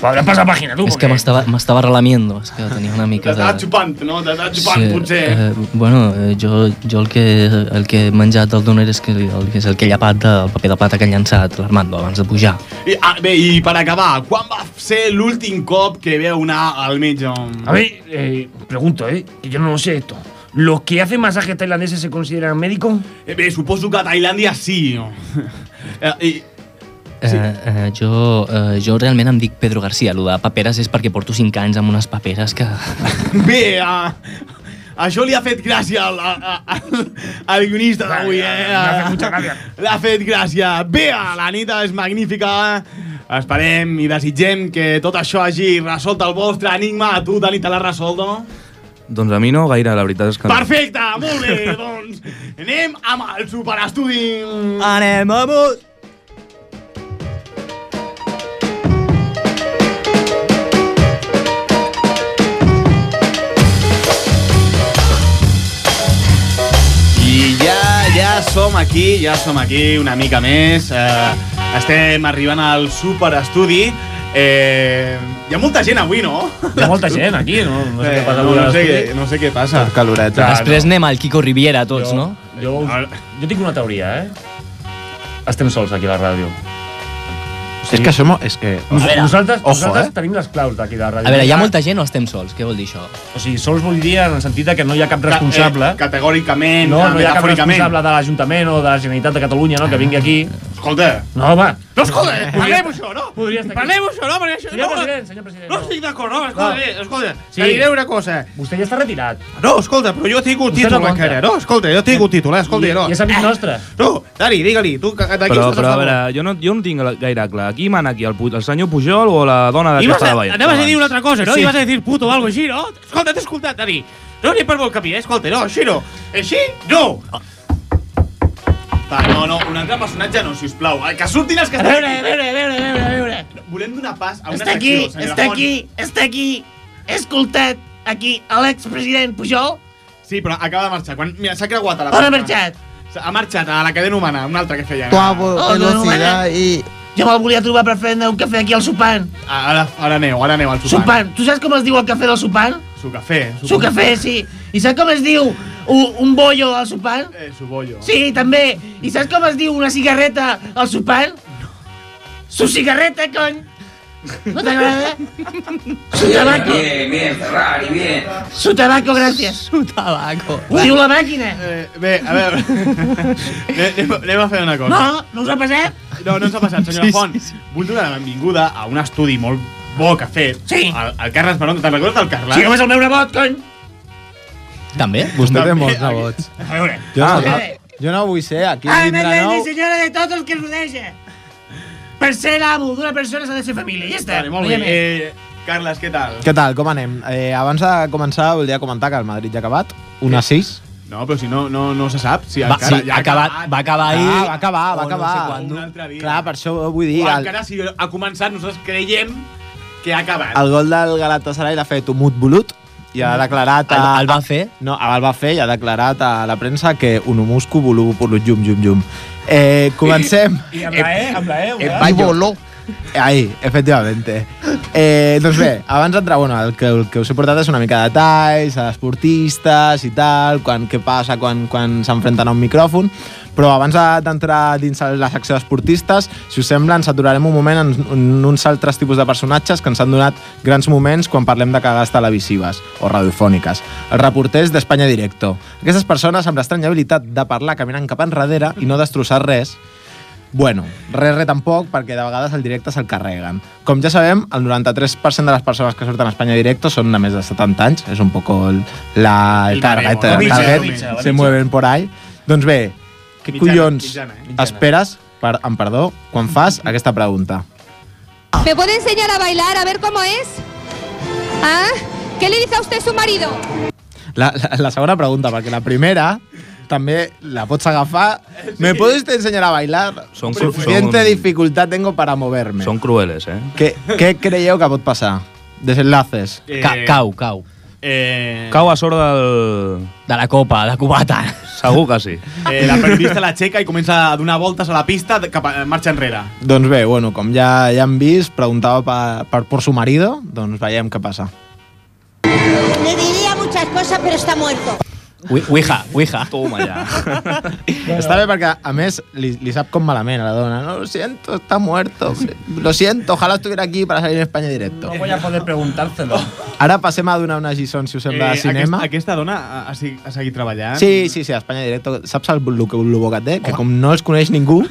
S18: Podrà passar pàgina, tu,
S2: És que m'estava m'estava relamiendo, és que tenia una mica
S1: T'estàs
S2: de...
S1: xupant, no? T'estàs xupant, sí, potser.
S2: eh, bueno, eh, jo, jo el, que, el que he menjat del doner és, que, el, és el que he llapat del paper de plata que ha llançat l'Armando abans de pujar.
S1: I, ah, bé, i per acabar, quan va ser l'últim cop que veu anar al metge?
S18: A ver, eh, pregunto, ¿eh? Que yo no lo sé esto. ¿Los que hacen masajes tailandeses se consideran médicos?
S1: Eh, bé, suposo que a Tailàndia sí. Eh, i,
S2: Sí. Eh, eh, jo, eh, jo realment em dic Pedro García. Lo de paperes és perquè porto 5 anys amb unes paperes que...
S1: bé, a, això li ha fet gràcia al, a, a, al guionista d'avui, eh?
S18: M'ha fet mucha gracia.
S1: L'ha fet gràcia. Bé, la nit és magnífica. Esperem i desitgem que tot això hagi resolt el vostre enigma. A tu, Dani, te l'has resolt, no?
S10: Doncs a mi no gaire, la veritat és que no.
S1: Perfecte, molt bé, doncs anem amb el superestudi.
S2: Anem a mut.
S1: I ja, ja som aquí, ja som aquí una mica més. Eh, Estem arribant al superestudi. Eh, hi ha molta gent avui, no?
S18: Hi ha molta gent aquí, no, no sé
S1: Eh,
S18: què passa.
S1: no, no sé
S18: avui a
S1: què- no sé què passa.
S9: Per caloreta.
S18: Clar,
S2: Després anem al Kiko Riviera tots, no?
S18: Jo, jo tinc una teoria, eh? Estem sols aquí a la ràdio.
S9: Es que somos. Es que.
S18: Nos,
S2: A veure,
S18: nosaltres,
S2: ojo,
S18: nosaltres
S2: eh?
S18: tenim les claus d'aquí de la ràdio.
S2: A veure, hi ha molta gent o estem sols? Què vol dir això?
S18: O sigui, sols vull dir en el sentit de que no hi ha cap responsable.
S1: eh, categòricament,
S18: no, no hi ha cap
S1: metafòricament.
S18: responsable de l'Ajuntament o de la Generalitat de Catalunya, no?, que vingui aquí.
S1: Escolta.
S18: No, home.
S12: No, escolta, eh, parlem això, no?
S18: Podria estar aquí.
S12: Parlem això, no? Perquè això,
S18: Senyor
S12: no,
S18: president, senyor president.
S12: No estic d'acord, no, escolta,
S18: No.
S12: no. escolta,
S18: Ah. Sí.
S12: sí. te diré una cosa. Ah,
S18: Vostè ja està retirat.
S12: No, escolta, però jo tinc un
S18: Vostè no
S12: títol
S18: compta.
S12: encara, no? Escolta, jo tinc un títol, eh? Escolta,
S18: I-
S12: no.
S18: i és amic nostre.
S12: No, Dani, digue-li, tu que d'aquí
S10: Però,
S12: estàs
S10: però a
S12: favor.
S10: veure, jo no, jo no tinc gaire clar. Qui mana aquí, el, pu- el senyor Pujol o la dona
S12: Ibas
S10: d'aquesta
S12: a,
S10: de Vall?
S12: anaves a dir una altra cosa, no? Sí.
S10: Sí.
S12: Ibas a dir puto o algo així, no? Escolta, t'he escoltat, Dani. No anem per bon camí, eh? Escolta, no, així no. Així, no.
S1: Va, no, no, un altre personatge no, sisplau. Eh, Que surtin els que
S4: A
S1: estan
S4: veure, a veure, a veure, a veure, a veure.
S1: Volem donar pas a una
S4: Està aquí,
S1: secció, senyora
S4: està
S1: Font.
S4: aquí, està aquí. He escoltat aquí a l'expresident Pujol.
S1: Sí, però acaba de marxar. Quan, mira, s'ha creuat a la...
S4: On ha
S1: porta.
S4: marxat?
S1: Ha marxat a la cadena humana, una altra que feia.
S4: Oh, eh? i... Jo me'l volia trobar per fer un cafè aquí al Supan.
S1: Ah, Ara, ara aneu, ara aneu al sopar.
S4: Supan. Tu saps com es diu el cafè del Supan?
S1: Su cafè.
S4: Su cafè, sí. I saps com es diu un, un bollo al Supan?
S1: Eh, su bollo.
S4: Sí, també. I saps com es diu una cigarreta al Supan? Su cigarreta, cony. No t'agrada? Su tabaco.
S6: Bien, bien, Ferrari, bien.
S4: Su tabaco, gràcies. Su tabaco. Ho diu la màquina.
S1: Eh, bé, a veure... anem, anem a fer una cosa.
S4: No, no us ha passat?
S1: No, no ens ha passat, senyora
S4: Sí, sí,
S1: Font. Vull donar la benvinguda a un estudi molt bo que ha fet. Sí. El, el Carles Barón, te'n recordes del Carles?
S4: Sí, home, és el meu nebot, cony.
S2: També?
S9: Vostè té
S1: També,
S9: molts nebots.
S4: A veure.
S9: Jo,
S4: Ah,
S9: no,
S4: eh.
S9: jo no vull ser aquí.
S4: Ai,
S9: dintre
S4: madre
S9: nou.
S4: i senyora de tots els que es rodeja. Per ser l'amo d'una persona s'ha de ser família, ja està.
S1: Vale, molt
S4: no hi ha
S1: bé.
S4: més.
S1: Eh, Carles, què tal?
S9: Què tal, com anem? Eh, abans de començar, voldria comentar que el Madrid ja ha acabat. 1 a 6.
S1: No, però si no, no, no se sap. Si
S9: Va- sí, ha acabat-
S1: va
S9: acabar ahir Ah, va acabar, va
S1: o
S9: acabar.
S1: No sé quan, un altre dia.
S9: Clar, per això ho vull dir.
S1: O
S9: El,
S1: encara si ha començat, nosaltres creiem que ha acabat.
S9: el gol del Galatasaray l'ha fet Umut Bulut i ha declarat... A, Mm. el, va fer? No, el va fer i ha declarat a la premsa que un humusco volú bulut llum, llum, llum. Eh, comencem.
S18: I amb la E, amb la E, ho veus?
S9: I voló. Ahí, efectivamente. Eh, doncs bé, abans d'entrar, bueno, el que, el que us he portat és una mica de detalls, a esportistes i tal, quan, què passa quan, quan s'enfrenten a un micròfon, però abans de- d'entrar dins la secció d'esportistes, si us sembla, ens aturarem un moment en, en uns altres tipus de personatges que ens han donat grans moments quan parlem de cagades televisives o radiofòniques. Els reporters d'Espanya Directo. Aquestes persones amb l'estranya habilitat de parlar caminant cap enrere i no destrossar res, Bueno, res, res tampoc, perquè de vegades el directe se'l carreguen. Com ja sabem, el 93% de les persones que surten a Espanya Directo són de més de 70 anys, és un poc el, la el
S1: El baremo,
S9: target,
S1: la
S9: el
S1: mitja,
S9: target,
S1: la mitja, la
S9: se
S1: mitja.
S9: mueven por ahí. Doncs bé, què
S1: Mitjana,
S9: collons
S1: mitjana, eh?
S9: esperes, per, em perdó, quan fas aquesta pregunta?
S19: ¿Me puede enseñar a bailar a ver cómo es? ¿Ah? ¿Qué le dice a usted su marido?
S9: La, la, la segona pregunta, perquè la primera també la pots agafar. ¿Me puedes enseñar a bailar?
S10: Són cru-
S9: Suficiente
S10: són-
S9: dificultad tengo para moverme.
S10: Són crueles, eh?
S9: Què, què creieu que pot passar? Desenlaces.
S10: Eh, Ca- cau,
S9: cau.
S1: Eh,
S10: Cau a sort del...
S2: De la copa, de cubata.
S10: Segur que sí.
S1: eh, la periodista la aixeca i comença a donar voltes a la pista de- cap a eh, marxa enrere.
S9: Doncs bé, bueno, com ja ja hem vist, preguntava per, per por su marido, doncs veiem què passa.
S20: Le diría muchas cosas, pero está muerto.
S9: Ouija, ouija.
S10: Toma ja.
S9: Està bé perquè, a més, li, li sap com malament a la dona. No, lo siento, está muerto. Lo siento, ojalá estuviera aquí para salir en España directo.
S18: No voy a poder preguntártelo.
S9: Ara passem a donar una lliçó, si us sembla, de cinema.
S1: Eh, Aquesta, aquesta dona ha, ha, sig- ha seguit treballant?
S9: Sí, sí, sí, a Espanya Directo. Saps el, el, el bo que té? Que com no els coneix ningú,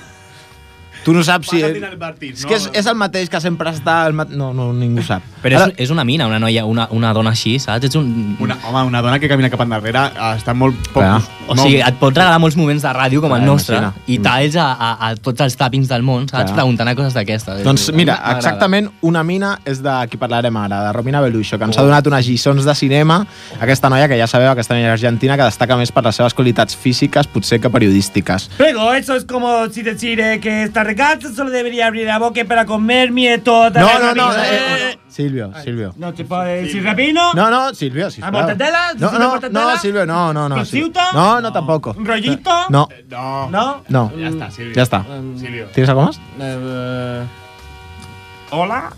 S9: tu no saps si...
S1: Passa inadvertit,
S9: És que és, és el mateix que sempre està... El ma... No, no, ningú sap.
S2: Però és, és una mina, una noia, una, una dona així, saps? Ets un...
S1: Una, home, una dona que camina cap endarrere eh, està molt poc...
S2: O sigui, et pot regalar molts moments de ràdio com el
S9: Clar,
S2: nostre
S9: imagina.
S2: i talls a, a, a tots els tàpings del món, saps?
S9: Clar.
S2: Preguntant a coses d'aquestes.
S9: Doncs mira,
S2: Eh, M'agrada.
S9: exactament una mina és de qui parlarem ara, de Romina Beluixo, que ens ha donat unes lliçons de cinema. Aquesta noia, que ja sabeu, aquesta noia argentina, que destaca més per les seves qualitats físiques, potser que periodísticas.
S18: Luego, eso es como si decir eh, que esta regata solo debería abrir la boca para comer mi toda
S9: No,
S18: la
S9: no, no,
S18: vida.
S9: eh, Silvio, Silvio.
S18: No, eh, tipo, el Sirrapino.
S9: No, no, Silvio, sí.
S18: ¿A mortadela?
S9: No,
S18: ¿Una
S9: no,
S18: mortadela?
S9: no, Silvio, no, no, no. sí.
S18: ¿Cociuta?
S9: No, no, tampoco.
S18: ¿Un rollito?
S9: No.
S14: Eh,
S18: No. ¿No?
S9: No.
S18: Ya está, Silvio.
S9: Ya está. Eh,
S18: Mm, Silvio.
S9: ¿Tienes algo más?
S18: Hola.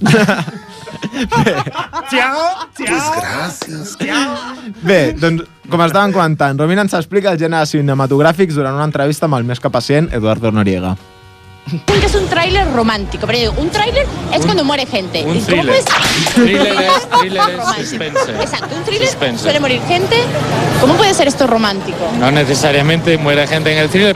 S14: Tiago, Tiago.
S18: Gracias. Tiago.
S9: Bé, doncs, com estàvem comentant, Romina ens explica el gènere cinematogràfics durant una entrevista amb el més que pacient, Eduardo Noriega.
S20: Dicen que es un tráiler romántico, pero yo digo, un tráiler es cuando muere gente.
S9: un
S20: ¿Y cómo
S9: thriller.
S20: puedes-
S9: Thriller es- thriller es
S20: Romántico.
S21: suspense.
S20: Exacto, un thriller
S21: Suspense.
S20: suele morir gente. ¿Cómo puede ser esto romántico?
S21: No necesariamente muere gente en el thriller.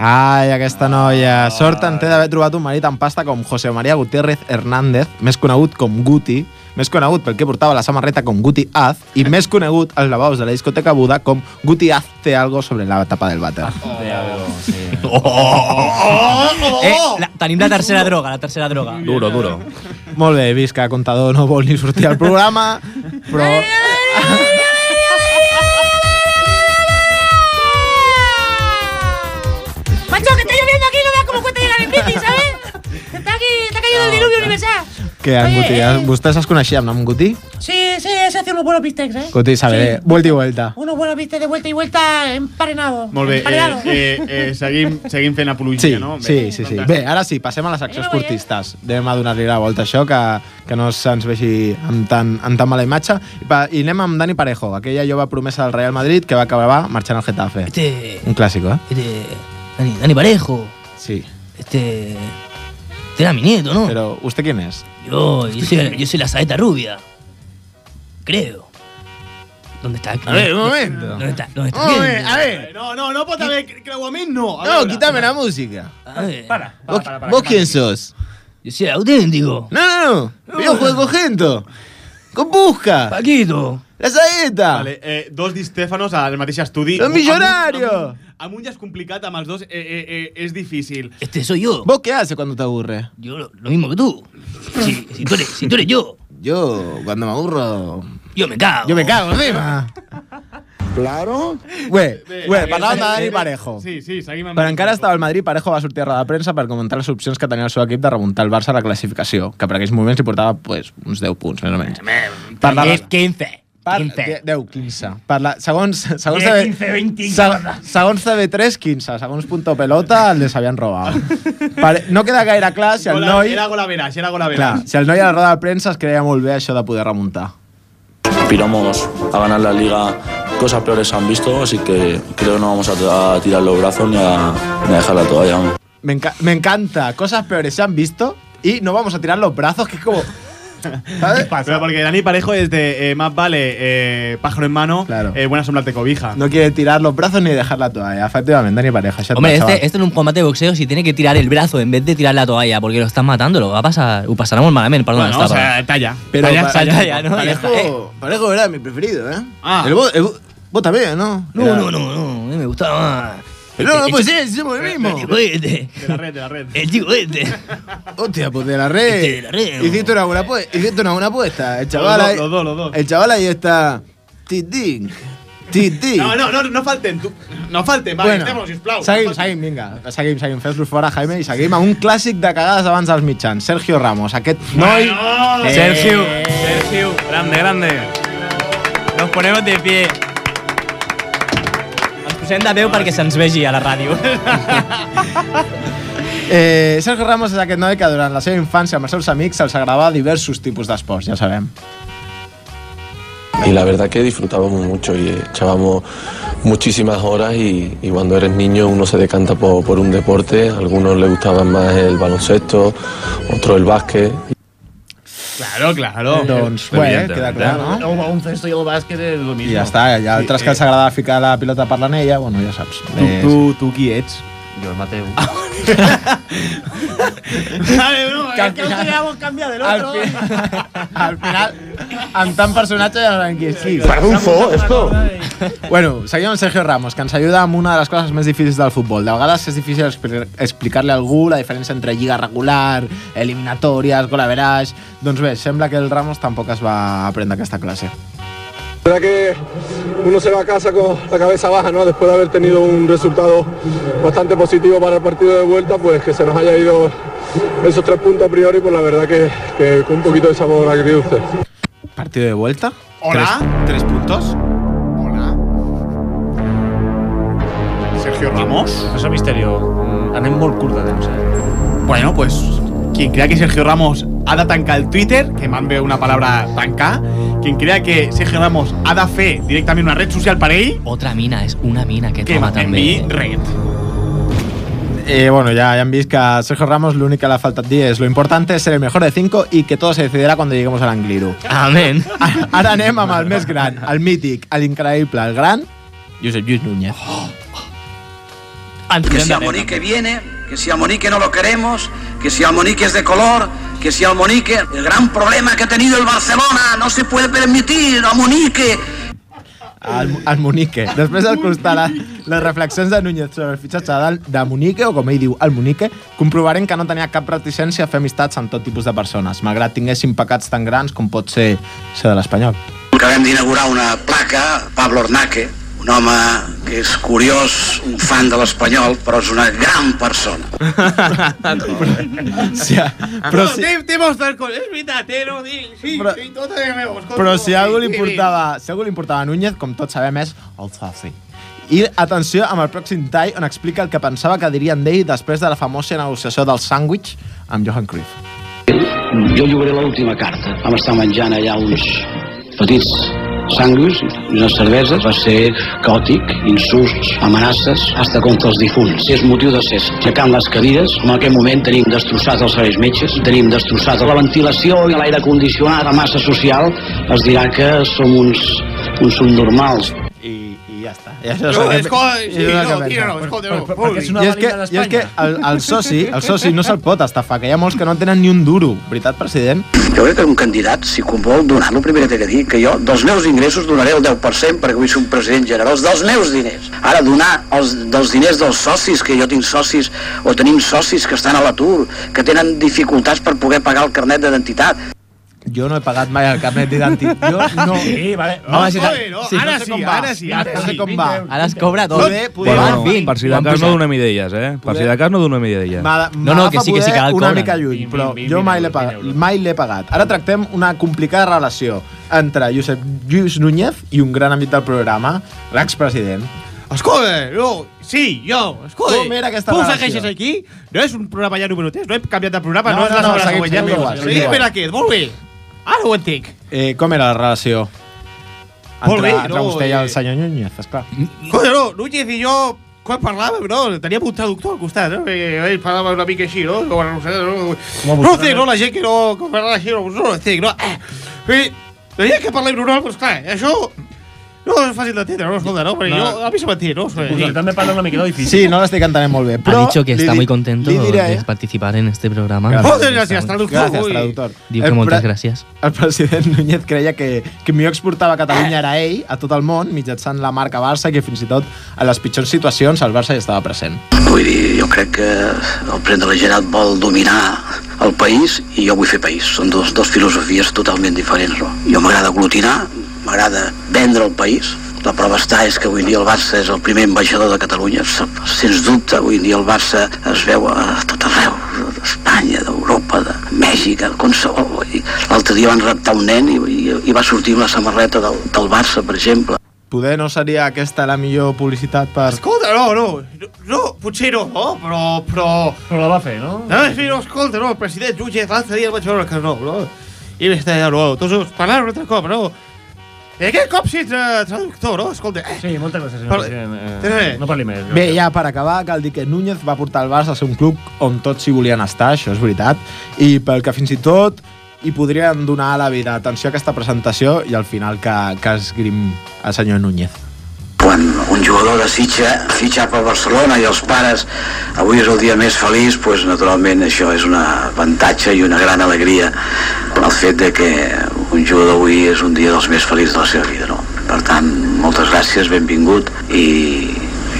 S9: Ai, aquesta noia. Sort en té d'haver trobat un marit en pasta com José María Gutiérrez Hernández, més conegut com Guti, més conegut perquè portava la samarreta com Guti Az i més conegut als lavabos de la discoteca Buda com Guti Az té algo sobre la tapa del vàter.
S2: Oh. Eh, la, tenim la tercera droga, la tercera droga.
S9: Duro, duro. Molt bé, he vist que Contador no vol ni sortir al programa, però...
S4: Macho, que está lloviendo aquí, no veas cómo cuesta llegar en bici, ¿sabes? Está aquí, está cayendo el diluvio universal.
S9: Que en
S4: Oye,
S9: Guti, eh? vostès es coneixien amb Guti?
S4: Sí, sí, se hace unos buenos bistecs, ¿eh?
S9: Guti sabe, sí. vuelta i vuelta.
S4: Unos buenos bistecs de vuelta y vuelta emparenados.
S1: Molt bé, eh,
S4: Emparenados.
S1: eh, eh, seguim, seguim fent apologia,
S9: Sí,
S1: no?
S9: sí, sí, sí. Bé, ara sí, passem a les accions esportistes. Anem a donar-li la volta a això, que, que no se'ns vegi amb tan, amb tan mala imatge. I, pa, I anem amb Dani Parejo, aquella jove promesa del Real Madrid que va acabar marxant al Getafe.
S2: Este,
S9: Un clàssico, eh?
S2: este, Dani, Dani Parejo,
S9: Sí.
S2: este, este era mi nieto, ¿no?
S9: Pero, ¿usted quién es?
S2: Yo, yo, soy, yo soy la saeta rubia, creo. ¿Dónde está?
S9: A ver, un momento.
S2: ¿Dónde está? ¿Dónde está?
S9: A ver, a
S18: eh.
S9: ver.
S22: No, no, no, pot haver creu a mi, no.
S9: No, quítame la música.
S2: Para,
S9: ¿Vos, vos quién sos?
S2: Yo soy auténtico.
S9: No, no, no. Yo juego con gente. Con busca.
S2: Paquito.
S9: La saeta.
S1: Vale, eh, dos Di Stefanos al mateix estudi.
S9: Los millonarios.
S1: Amb, un- amb, un ja és complicat, amb els dos eh, eh, eh, és difícil.
S2: Este soy yo.
S9: ¿Vos qué haces cuando te aburres?
S2: Yo lo, lo mismo que tú. Si, si tú eres, si tú eres yo,
S9: Yo, cuando me aburro...
S2: yo me cago.
S9: Yo me cago encima.
S23: Claro.
S9: Güey, güey,
S1: Bé,
S9: parlàvem de Dani
S1: bé,
S9: Parejo.
S1: Sí, sí, seguim amb...
S9: Però encara estava al Madrid, Parejo va sortir a roda de premsa per comentar les opcions que tenia el seu equip de remuntar el Barça a la classificació, que per aquells moments li portava pues, uns 10 punts, més o menys. Parla-
S2: 15.
S9: Par, 10, 15. Parla, segons, segons,
S2: 10,
S9: TV,
S2: 15, 20,
S9: se- segons TV3, 15. Segons Punto Pelota, les havien robat. Pare, no queda gaire clar si el
S1: Gola-
S9: noi...
S1: Era Golavera, era Golavera.
S9: Clar, si el noi a la roda de premsa es creia molt bé això de poder remuntar.
S24: aspiramos a ganar la liga. Cosas peores se han visto, así que creo que no vamos a, a tirar los brazos ni a, ni a dejar la toalla. vamos.
S9: Me, enca- me encanta. Cosas peores se han visto y no vamos a tirar los brazos, que es como... ¿Sabes?
S1: Pero porque Dani Parejo es de eh, más vale eh, pájaro en mano, eh, buena sombra te cobija.
S9: No quiere tirar los brazos ni dejar la toalla. Efectivamente, Dani Pareja. Ya
S2: Hombre, este, este en un combate de boxeo, si tiene que tirar el brazo en vez de tirar la toalla porque lo están matando, lo va a pasar. Ho passarà molt malament, perdona.
S9: Bueno,
S2: està,
S9: o sea,
S2: perdona.
S1: talla.
S9: Pero
S2: talla,
S9: pa-
S2: talla, talla, ¿no? Ya
S9: Parejo,
S2: está, eh.
S9: Parejo era mi preferido, ¿eh?
S2: Ah.
S9: El vos, el vos- vos también, ¿no?
S2: No, no, no, no, a mí me gustaba más.
S9: Pero no, pues no puede
S2: Eh, eh,
S9: ser, somos el mismo.
S2: El chico este.
S1: De la red, de la red.
S2: El chico este.
S9: Hostia, pues de la red.
S2: Este de la red,
S9: Hiciste una buena apuesta. Hiciste una buena apuesta. El chaval
S1: dos,
S9: ahí.
S1: los dos, los dos.
S9: El chaval ahí está. Titín. Titín.
S1: No, no, no, no falten. tu- no falten, vale,
S9: Bueno,
S1: estem-los, sisplau.
S9: seguim, seguim, vinga. Seguim, seguim. Fes-los fora, Jaime, i seguim amb un clàssic de cagades abans dels mitjans. Sergio Ramos, aquest noi... Eh.
S10: Bueno, Eh, Sergio. Sergio, grande, grande.
S2: Nos ponemos de pie. Ens posem de veu perquè se'ns vegi a la ràdio.
S9: Eh, Sergio Ramos és aquest noi que durant la seva infància amb els seus amics se'ls agradava diversos tipus d'esports, ja sabem.
S24: Y la verdad que disfrutábamos mucho y echábamos muchísimas horas y, y cuando eres niño uno se decanta por, por un deporte, a algunos le gustaban más el baloncesto, otro el básquet.
S1: Claro, claro.
S9: Doncs, bueno, queda clar, no?
S18: El baloncesto i el bàsquet és el
S9: I
S18: mismo. eh.
S9: ja està, hi ha altres que els agradava ficar la pilota per l'anella, bueno, ja saps. Eh,
S1: tu, tu qui ets?
S18: Jo el Mateu.
S9: Ah,
S1: Vale, no,
S9: Que al final-
S18: cambiar del
S9: al
S18: otro.
S9: Al final, amb tant personatge ja no sabem qui és qui.
S18: esto.
S9: Bueno, seguim amb Sergio Ramos, que ens ajuda amb una de les coses més difícils del futbol. De vegades és difícil expli- explicar-li a algú la diferència entre lliga regular, eliminatòries, gol average... Doncs bé, sembla que el Ramos tampoc es va aprendre aquesta classe.
S25: verdad que uno se va a casa con la cabeza baja, ¿no? Después de haber tenido un resultado bastante positivo para el partido de vuelta, pues que se nos haya ido esos tres puntos a priori, pues la verdad que, que con un poquito de sabor agridulce.
S9: Partido de vuelta.
S25: Hola.
S26: ¿Tres puntos? Sergio Ramos.
S27: Això misterio. Mm, Anem molt curt de temps, eh?
S26: Bueno, pues quien crea que Sergio Ramos ha de tancar el Twitter, que m'han ve una palabra tancar, quien crea que Sergio Ramos ha de fer directament una red social per ell...
S2: Otra mina, és una mina que
S26: Que
S2: toma
S26: m'enviï
S2: també.
S26: red.
S9: Eh, bueno, ya, ya han visto que a Sergio Ramos lo único que le ha faltado 10. Lo importante es ser el mejor de 5 y que todo se decidirá cuando lleguemos al Angliru.
S2: Amén.
S9: Ahora anem amb el més gran, el mític, el increíble, el gran... Josep Lluís Núñez.
S15: Que si Almonique viene, que si Almonique no lo queremos, que si Almonique es de color, que si Almonique... El gran problema que ha tenido el Barcelona, no se puede permitir, Almonique.
S9: al, al Munique. Després d'escoltar les reflexions de Núñez sobre el fitxatge de, de Munique, o com ell diu, el Munique, comprovarem que no tenia cap reticència a fer amistats amb tot tipus de persones, malgrat tinguessin pecats tan grans com pot ser ser de l'Espanyol.
S15: Acabem d'inaugurar una placa, Pablo Ornaque, un home que és curiós, un fan de l'espanyol, però és una gran persona.
S9: Sí, però
S1: no,
S9: si-
S1: té, té molts d'alcohol, és veritat, eh, no, dic, sí,
S9: Però-
S1: sí, tot és meu. escolta,
S9: Però si
S1: sí,
S9: a algú li
S1: sí, sí.
S9: importava, si a algú li importava a Núñez, com tots sabem, és el Zafi. I atenció amb el pròxim tall on explica el que pensava que dirien d'ell després de la famosa negociació del sàndwich amb Johan Cruyff.
S6: Jo lliuré l'última carta. Vam estar menjant allà uns petits sanguis, unes cerveses. Va ser caòtic, insults, amenaces, hasta contra els difunts. És motiu de ser aixecant les cadires. En aquell moment tenim destrossats els serveis metges, tenim destrossats la ventilació i l'aire condicionat, la massa social. Es dirà que som uns, uns subnormals.
S9: I ja està.
S6: No, escolta, sí, no, tira-lo,
S1: escolta, no.
S9: I
S1: Perquè
S9: és
S1: és una
S9: que,
S1: valida
S9: i és que el, el, soci, el soci no se'l pot estafar, que hi ha molts que no tenen ni un duro. Veritat, president?
S15: Jo crec que un candidat, si com vol donar-lo, primer té que dir que jo dels meus ingressos donaré el 10% perquè vull ser un president generós dels meus diners. Ara, donar els, dels diners dels socis, que jo tinc socis o tenim socis que estan a l'atur, que tenen dificultats per poder pagar el carnet d'identitat.
S9: Jo no he pagat mai el carnet d'identitat. Jo no.
S28: Sí, vale.
S9: No,
S10: Vale,
S9: sí,
S10: vale, no, ara
S9: sé
S10: sí,
S9: com va.
S10: ara sí, ara
S9: No sé
S10: sí,
S9: com
S10: vint
S9: va.
S10: euros,
S2: Ara es cobra tot.
S9: Poder, poder,
S10: Bueno,
S9: vint.
S10: per si
S9: Ho
S10: de
S9: han
S10: cas no
S9: posat.
S10: donem idees, eh? Per si de cas no donem idees.
S9: M'ha- m'agafa poder una mica lluny, però jo mai l'he pagat, mai l'he pagat. Ara tractem una complicada relació entre Josep Lluís Núñez i un gran amic del programa, l'expresident.
S1: Escolta, no, sí, jo, escolta.
S9: Com era aquesta
S1: tu
S9: relació?
S1: segueixes aquí? No és un programa ja número 3, no hem canviat de programa,
S9: No,
S1: no, és
S9: no,
S1: la
S9: no,
S1: setmana
S9: seguim,
S1: següent.
S9: seguim
S1: ja.
S9: igual, seguim
S1: Seguim
S9: igual.
S1: per aquest, molt bé. Ara ho entenc.
S9: Eh, com era la relació? Entre,
S1: Molt bé,
S9: entre
S1: no,
S9: vostè i
S1: eh, mm.
S9: el senyor Núñez, esclar.
S1: Escolta, no, Núñez i jo, quan parlàvem, no, teníem un traductor al costat, no? Eh, Ell parlava una mica així, no? Com a nosaltres,
S9: a
S1: no? No
S9: vosaltres,
S1: entenc,
S9: no?
S1: no, la gent que no que parla així, no, no entenc, no? Eh, eh, la gent que parla normal, doncs clar, això... No és fàcil d'entendre, no? Escolta, no? Perquè
S9: No.
S1: jo, a mi se m'entén, no?
S9: Vosaltres
S1: també parla una miqueta
S9: Sí, no l'estic entenent molt bé. Però
S2: ha dicho que
S9: li
S2: está
S9: di-
S2: muy contento
S9: li diré- eh.
S2: de participar en este programa.
S9: Moltes
S1: gràcies, traductor.
S9: Gràcies,
S1: Ui.
S9: traductor.
S2: Diu
S9: El
S2: que moltes
S9: pre-
S2: gràcies.
S9: El president Núñez creia que, que millor exportava a Catalunya era ell a tot el món mitjançant la marca Barça que fins i tot a les pitjors situacions el Barça hi estava present.
S15: Vull dir, jo crec que el president de la Generalitat vol dominar el país i jo vull fer país. Són dos, dos filosofies totalment diferents. No? Jo m'agrada aglutinar, m'agrada vendre el país. La prova està és que avui dia el Barça és el primer ambaixador de Catalunya. S- Sens dubte, avui dia el Barça es veu a tot arreu, d'Espanya, d'Europa, de Mèxic, de qualsevol. Vull dir, L'altre dia van raptar un nen i, i, i va sortir amb la samarreta del, del Barça, per exemple.
S9: Poder no seria aquesta la millor publicitat per...
S1: Escolta, no, no, no, no, potser no, no, però, però... Però la va fer, no? No, sí, no, escolta, no, el president Jutge l'altre dia el vaig veure al Carnot, no? I vaig estar allà, no, tots us parlant un altre cop, no? I aquest cop sí ets eh, traductor, no? Escolta, eh? Sí, moltes gràcies,
S9: senyor president, eh, no parli més. Bé, ja per acabar, cal dir que Núñez va portar el Barça a ser un club on tots s'hi volien estar, això és veritat, i pel que fins i tot hi podrien donar la vida. Atenció a aquesta presentació i al final que, que esgrim el senyor Núñez.
S15: un jugador desitja fitxar per Barcelona i els pares avui és el dia més feliç, doncs naturalment això és un avantatge i una gran alegria el fet de que un jugador avui és un dia dels més feliços de la seva vida, no? Per tant, moltes gràcies, benvingut i,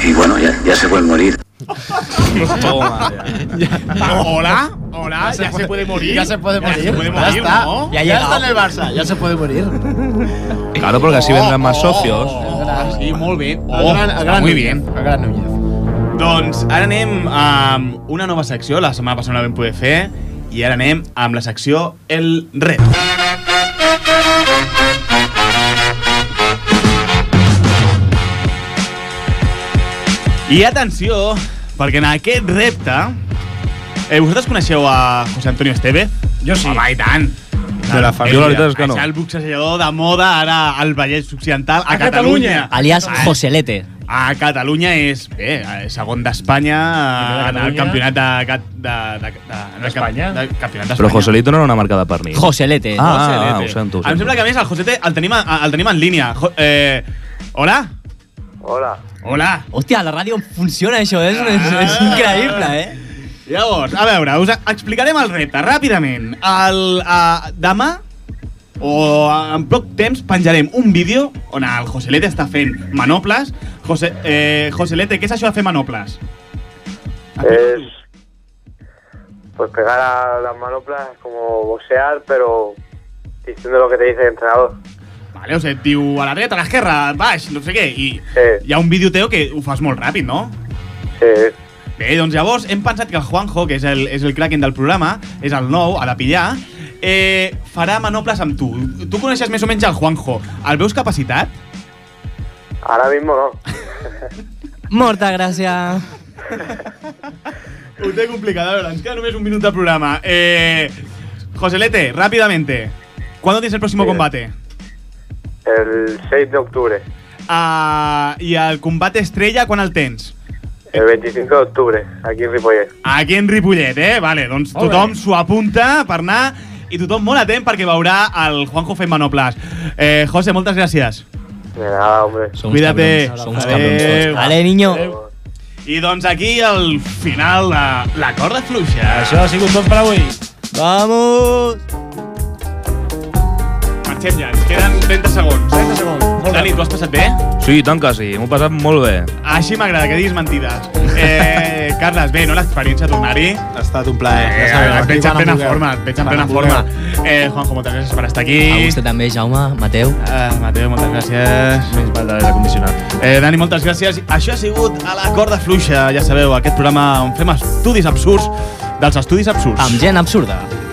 S15: i bueno, ja, ja se puede morir.
S1: Toma. Hola, hola, ya, se, puede, morir.
S9: Ya se puede morir.
S1: Ya se puede
S9: Ya
S1: morir,
S9: está.
S1: ¿no?
S9: Ya, ya está en el Barça. Ya se puede morir.
S10: Claro, porque así vendrán más socios.
S1: Oh, Sí, molt bé.
S9: El gran- el gran
S1: muy
S9: Núñez,
S1: bien. El gran Núñez. Doncs ara anem amb una nova secció, la setmana passada no la vam poder fer, i ara anem amb la secció El Reto. I atenció, perquè en aquest repte... Eh, vosaltres coneixeu a José Antonio Esteve? Jo sí. Home, i tant.
S10: De la família. Jo la veritat és que no.
S1: És el boxejador de moda ara al Vallès Occidental, a, Catalunya.
S2: Alias Joselete.
S1: A Catalunya és, bé, eh, segon d'Espanya
S29: Primer
S1: en
S29: de
S1: el
S29: Catalunya.
S1: campionat de... cat- de- de- de- de-
S29: D'Espanya?
S1: de- Campionat
S10: Però
S1: d'Espanya.
S10: Joselito no era una marca de pernil.
S2: Joselete.
S10: Ah, ah, ah, ho sento. ho
S1: Em
S10: sento.
S1: sembla que a més el Josete el tenim, a- el tenim en línia. Jo, eh, hola? Hola. Hola. Ah.
S2: Hòstia, la ràdio funciona, això. eh? És, és, és increïble, eh?
S1: Llavors, a veure, us explicarem el repte ràpidament. El, eh, demà o en poc temps penjarem un vídeo on el Joselete està fent manoples. José, eh, Joselete, què és això de fer manoples?
S18: Es pues pegar a las manoplas como boxear, pero diciendo lo que te dice el entrenador.
S1: Vale, o sigui, et diu a la dreta, a l'esquerra, baix, no sé què, i hi ha un vídeo teu que ho fas molt ràpid, no?
S18: Sí.
S1: Bé, doncs llavors hem pensat que el Juanjo, que és el, és el kraken del programa, és el nou, ha de pillar, eh, farà manoples amb tu. Tu coneixes més o menys el Juanjo. El veus capacitat?
S18: Ahora mismo no.
S2: Molta gràcies.
S1: Ho té complicat, a veure, ens queda només un minut de programa. Eh, Joselete, ràpidamente, ¿cuándo tienes el próximo combate?
S18: El 6 de octubre,
S1: Ah, I el combate estrella, quan el tens?
S18: el 25 de octubre, aquí en Ripollet.
S1: Aquí en Ripollet, eh? Vale, doncs
S18: Molt bé.
S1: tothom s'ho apunta per anar i tothom molt atent perquè veurà el Juanjo fent manoples. Eh, José, moltes gràcies.
S18: De nada, hombre.
S1: Cuídate. Adéu.
S2: niño.
S1: I doncs aquí el final de la corda fluixa.
S29: Això ha sigut tot per avui.
S2: Vamos!
S1: Marxem ja, ens queden 30 segons. 30 segons. Dani, tu has passat bé?
S10: Sí, i tant que sí. M'ho he passat molt bé.
S1: Així m'agrada que diguis mentides. Eh, Carles, bé, no l'experiència tornar-hi?
S9: Ha estat un plaer.
S1: Eh, et veig en plena forma, et veig en plena forma. Eh, Juanjo, moltes gràcies per estar aquí.
S2: A vostè també, Jaume, Mateu.
S1: Uh, Mateu, moltes gràcies. Més mal de l'acondicionat. Eh, Dani, moltes gràcies. Això ha sigut a la corda fluixa, ja sabeu, aquest programa on fem estudis absurds dels estudis absurds.
S2: Amb gent absurda.